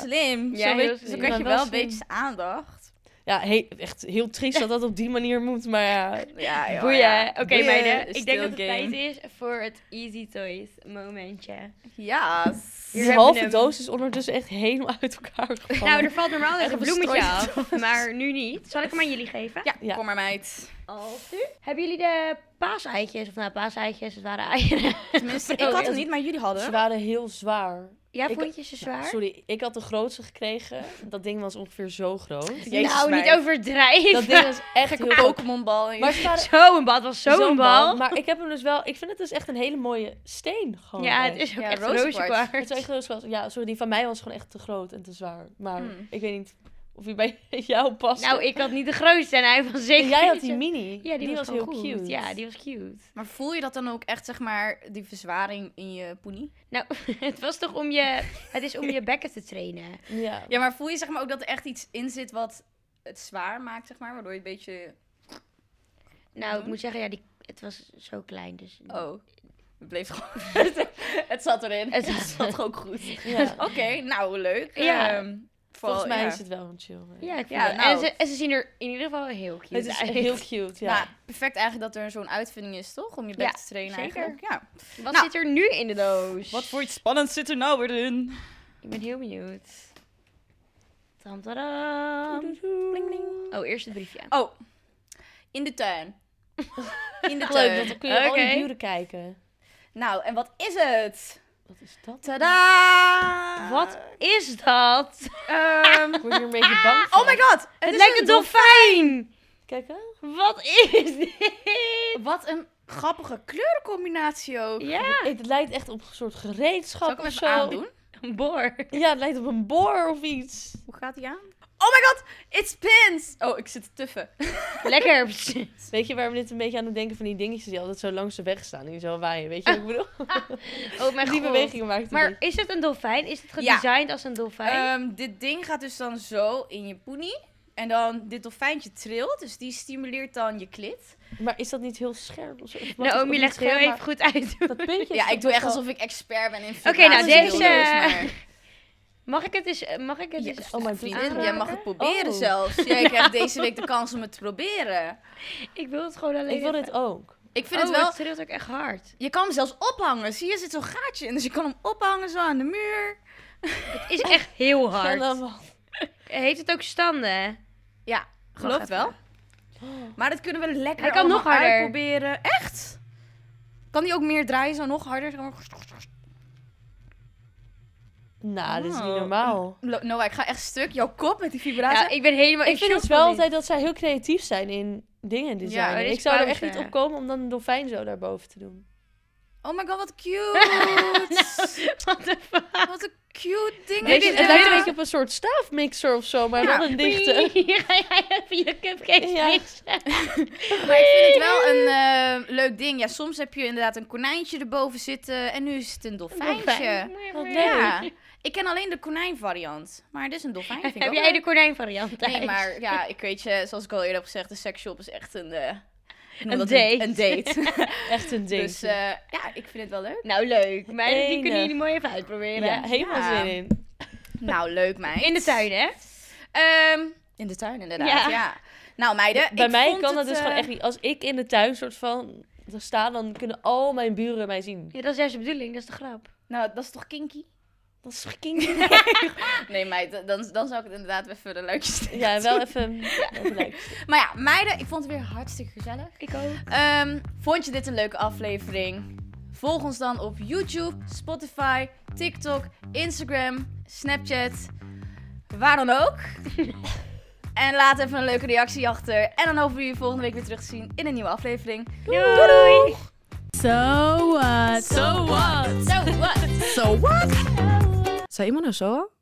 Speaker 1: Ja,
Speaker 2: slim. zo,
Speaker 1: heel
Speaker 2: weet- zo
Speaker 1: slim.
Speaker 2: krijg je
Speaker 3: Maar
Speaker 2: wel
Speaker 3: wel
Speaker 2: een
Speaker 3: slim.
Speaker 2: beetje zijn aandacht.
Speaker 3: Ja, he- echt heel triest dat dat op die manier moet. Maar ja,
Speaker 2: Ja, joh,
Speaker 1: Boeien.
Speaker 2: ja.
Speaker 1: Oké
Speaker 2: Boeien,
Speaker 1: meiden, ik denk
Speaker 2: still
Speaker 1: dat het tijd
Speaker 2: game.
Speaker 1: is voor het Easy Toys momentje.
Speaker 2: Yes.
Speaker 1: Hier
Speaker 3: die
Speaker 1: hebben we
Speaker 3: halve
Speaker 1: hem.
Speaker 3: doos is ondertussen echt helemaal uit elkaar gevallen.
Speaker 1: Nou, er valt normaal
Speaker 2: Echt
Speaker 1: echt een bloemetje
Speaker 2: verstrooid.
Speaker 1: af, maar nu niet. Zal ik hem aan jullie geven?
Speaker 2: Ja,
Speaker 3: Ja.
Speaker 2: kom maar meid.
Speaker 1: Als u. Hebben jullie de paaseitjes, of nou paaseitjes, het waren eieren.
Speaker 2: Tenminste, ik had het niet, maar jullie
Speaker 3: Ze
Speaker 2: hadden.
Speaker 3: waren heel zwaar.
Speaker 1: Ja,
Speaker 3: Ik-
Speaker 1: vond je ze zwaar?
Speaker 3: Sorry, ik had de grootste gekregen. Dat ding was ongeveer zo groot.
Speaker 2: Jezus,
Speaker 1: nou, niet
Speaker 2: meid.
Speaker 1: overdrijven.
Speaker 3: Dat ding was echt heel groot.
Speaker 2: Pokémonbal.
Speaker 3: Maar ze waren
Speaker 1: Zo'n bal, het was [laughs] zo'n
Speaker 3: zo'n
Speaker 1: bal.
Speaker 3: Maar ik heb hem dus wel... Ik vind het dus echt een hele mooie steen gewoon.
Speaker 1: ja,
Speaker 3: echt.
Speaker 1: het is ook
Speaker 2: Ja,
Speaker 1: echt
Speaker 2: rozenkwarts.
Speaker 1: rozenkwarts.
Speaker 3: Het is
Speaker 1: [laughs]
Speaker 3: echt heel zwaar. Ja, sorry, die van mij was gewoon echt te groot en te zwaar. Maar
Speaker 2: Hmm.
Speaker 3: ik weet niet of die bij [laughs] jou past.
Speaker 1: Nou, ik had niet de grootste en hij was zeker
Speaker 3: en jij had
Speaker 1: niet
Speaker 3: die
Speaker 1: zo-
Speaker 3: mini.
Speaker 1: Ja, die, was,
Speaker 3: heel
Speaker 1: gewoon goed.
Speaker 3: cute.
Speaker 1: Ja, die was cute. [laughs]
Speaker 2: Maar voel je dat dan ook echt, zeg maar, die verzwaring in je poenie?
Speaker 1: Nou, het was toch om je... Het is om je bekken te trainen.
Speaker 3: Ja.
Speaker 2: [laughs] Ja, maar voel je zeg maar ook dat er echt iets in zit wat het zwaar maakt, zeg maar? Waardoor je een beetje...
Speaker 1: Nou, ik
Speaker 2: Doen?
Speaker 1: moet zeggen, ja, die, het was zo klein, dus...
Speaker 2: Oh, het bleef gewoon... [laughs] het zat
Speaker 1: [laughs]
Speaker 2: erin.
Speaker 1: Het
Speaker 2: [laughs] Het
Speaker 1: zat-
Speaker 2: zat gewoon goed.
Speaker 3: Ja.
Speaker 2: Oké, nou, leuk.
Speaker 1: Ja.
Speaker 2: Ehm,
Speaker 3: Volgens
Speaker 2: vooral-
Speaker 3: mij
Speaker 2: ja.
Speaker 3: is het wel een chill. merk.
Speaker 1: Ja, ik vond
Speaker 2: Ja,
Speaker 1: het-
Speaker 2: nou.
Speaker 1: en, ze, en ze zien er in ieder geval heel cute
Speaker 3: Het is
Speaker 1: uit.
Speaker 3: heel cute, ja.
Speaker 2: Nou, perfect eigenlijk dat er zo'n uitvinding is, toch? Om je bek
Speaker 1: Ja,
Speaker 2: te trainen
Speaker 1: zeker.
Speaker 2: eigenlijk. Ja.
Speaker 1: [laughs] Wat
Speaker 2: Nou.
Speaker 1: zit er nu in de doos?
Speaker 2: iets spannends zit er nou weer in?
Speaker 1: Ik ben heel benieuwd. Tam, tadam.
Speaker 3: Ehm, Bling, bling.
Speaker 1: Oh, eerst het briefje.
Speaker 2: Oh, in de
Speaker 3: [laughs]
Speaker 2: tuin. In de
Speaker 3: Leuk, want
Speaker 2: tuin.
Speaker 3: dan kun je al
Speaker 1: Oké.
Speaker 3: die buren kijken.
Speaker 2: Nou, en wat is het?
Speaker 3: Wat is dat?
Speaker 2: Tada!
Speaker 1: Wat is dat?
Speaker 2: Ehm,
Speaker 3: Ik word hier een beetje bang van.
Speaker 2: oh my god! Het,
Speaker 1: Het
Speaker 2: is
Speaker 1: lijkt een dolfijn!
Speaker 3: Kijk hè?
Speaker 1: Wat is dit?
Speaker 2: dolf- Wat een grappige kleurencombinatie ook.
Speaker 1: Ja,
Speaker 3: Het lijkt echt op een soort
Speaker 2: Zal
Speaker 3: gereedschap
Speaker 2: ik hem
Speaker 3: of
Speaker 2: even
Speaker 3: zo.
Speaker 2: aandoen?
Speaker 1: een boor.
Speaker 3: Ja, het lijkt op een boor of iets.
Speaker 2: Hoe gaat hij aan? Oh my god! It spins! Oh, ik zit te tuffen.
Speaker 1: Lekker. [laughs]
Speaker 3: Weet je waar we dit een beetje aan het denken van die dingetjes die altijd zo langs de weg staan en die zo waaien? Weet je wat ik bedoel?
Speaker 1: Oh, mijn
Speaker 3: Die
Speaker 1: god.
Speaker 3: bewegingen maakt hij
Speaker 1: Maar
Speaker 3: niet.
Speaker 1: is het een dolfijn? Is het
Speaker 2: Ja.
Speaker 1: gedesigned als een dolfijn?
Speaker 2: Ehm, dit ding gaat dus dan zo in je poenie. En dan dit dolfijntje trilt, dus die stimuleert dan je klit.
Speaker 3: Maar is dat niet heel scherp of zo? Of wat is- of
Speaker 1: Naomi
Speaker 3: niet
Speaker 1: legt heel
Speaker 3: scherp,
Speaker 1: even
Speaker 3: maar
Speaker 1: goed uit. [laughs]
Speaker 3: Dat puntje is
Speaker 2: Ja, ik
Speaker 3: toch
Speaker 2: doe echt
Speaker 3: wel-
Speaker 2: alsof ik expert ben in
Speaker 1: Oké, nou,
Speaker 2: vibraties en
Speaker 1: deze-
Speaker 2: dildo's, [laughs] maar-
Speaker 1: Mag ik het eens... eh, Mag ik het
Speaker 2: Ja,
Speaker 1: eens
Speaker 2: oh mijn vriendin, jij
Speaker 1: aanraken?
Speaker 2: mag het proberen
Speaker 3: Oh.
Speaker 2: zelfs. Jij [laughs] krijgt deze week de kans om het te proberen.
Speaker 1: Ik wil het gewoon alleen
Speaker 3: Ik wil dit
Speaker 1: even-
Speaker 3: ook.
Speaker 2: Ik vind het
Speaker 1: Oh,
Speaker 2: wel...
Speaker 1: het trilt ook echt hard.
Speaker 2: Je kan hem zelfs ophangen. Zie je, er zit zo'n gaatje in. Dus je kan hem ophangen zo aan de muur.
Speaker 1: Het is echt
Speaker 2: [laughs]
Speaker 1: heel
Speaker 3: Ja,
Speaker 1: hard.
Speaker 3: dan wel.
Speaker 1: Heeft het ook standen?
Speaker 2: Ja, geloof
Speaker 1: Wacht
Speaker 2: wel. Maar dat kunnen we lekker
Speaker 1: Hij kan nog
Speaker 2: allemaal
Speaker 1: harder.
Speaker 2: uitproberen. Echt? Kan die ook meer draaien? Zo nog harder? Zo-
Speaker 3: Nou, dit is niet
Speaker 2: Oh.
Speaker 3: normaal.
Speaker 2: Lo- Noah, ik ga echt stuk. Jouw kop met die vibratie.
Speaker 1: Ja, ik ben helemaal in
Speaker 3: Ik vind
Speaker 1: shock
Speaker 3: het wel
Speaker 1: van dit.
Speaker 3: altijd dat zij heel creatief zijn in
Speaker 2: Ja,
Speaker 3: dingen designen.
Speaker 1: dit is
Speaker 3: ik zou er echt
Speaker 1: pauze.
Speaker 3: niet op komen om dan een dolfijn zo daarboven te doen.
Speaker 2: Oh my god, wat cute. [laughs]
Speaker 1: What the fuck?
Speaker 2: Wat een cute ding.
Speaker 1: Nee,
Speaker 2: is
Speaker 1: dit-
Speaker 3: het
Speaker 2: dit.
Speaker 3: lijkt een beetje op een soort staafmixer of zo, maar
Speaker 2: Ja,
Speaker 3: dan een dichte.
Speaker 1: [laughs] Hier ga jij even je cupcakes
Speaker 3: Ja.
Speaker 1: mixen.
Speaker 2: [laughs] Maar ik vind het wel een eh, leuk ding. Ja, soms heb je inderdaad een konijntje erboven zitten. En nu is het een dolfijntje.
Speaker 3: Wat leuk.
Speaker 2: Ja. Ik ken alleen de konijnvariant. Maar dit is een dolfijn. [laughs] Vind ik
Speaker 1: Heb
Speaker 2: ook
Speaker 1: jij
Speaker 2: leuk.
Speaker 1: de konijnvariant thuis?
Speaker 2: Nee, maar ja, ik weet je, zoals ik al eerder heb gezegd, de seksshop is echt een... eh, ik noem
Speaker 1: Een
Speaker 2: dat
Speaker 1: date.
Speaker 2: Een date.
Speaker 3: Echt een ding.
Speaker 2: dus eh, ja, ik vind het wel leuk.
Speaker 1: Nou, leuk. Meiden, die kunnen
Speaker 3: Enig.
Speaker 1: jullie mooi even uitproberen.
Speaker 3: ja, helemaal
Speaker 2: ja.
Speaker 3: zin in.
Speaker 2: Nou, leuk meid.
Speaker 1: In de tuin, hè?
Speaker 2: Ehm, in de tuin inderdaad, ja.
Speaker 1: Ja.
Speaker 2: Nou meiden,
Speaker 3: Bij
Speaker 2: ik
Speaker 3: mij
Speaker 2: vond
Speaker 3: kan dat
Speaker 2: het,
Speaker 3: dus
Speaker 2: eh,
Speaker 3: gewoon echt niet. Als ik in de tuin soort van sta, dan kunnen al mijn buren mij zien.
Speaker 1: Ja, dat is juist de bedoeling. Dat is de grap.
Speaker 2: Nou, dat is toch kinky?
Speaker 3: Dat is kinky.
Speaker 2: [laughs] Nee meid, dan, dan zou ik het inderdaad even de luikjes
Speaker 3: Ja, wel even. even leuk.
Speaker 2: Maar ja, meiden, ik vond het weer hartstikke gezellig.
Speaker 1: Ik ook.
Speaker 2: Ehm, vond je dit een leuke aflevering? Volg ons dan op YouTube, Spotify, TikTok, Instagram, Snapchat, waar dan ook. en laat even een leuke reactie achter. En dan hopen we je volgende week weer terug te zien in een nieuwe aflevering.
Speaker 1: doei.
Speaker 4: So what?
Speaker 2: So what? So what?
Speaker 4: Zei iemand nou zo?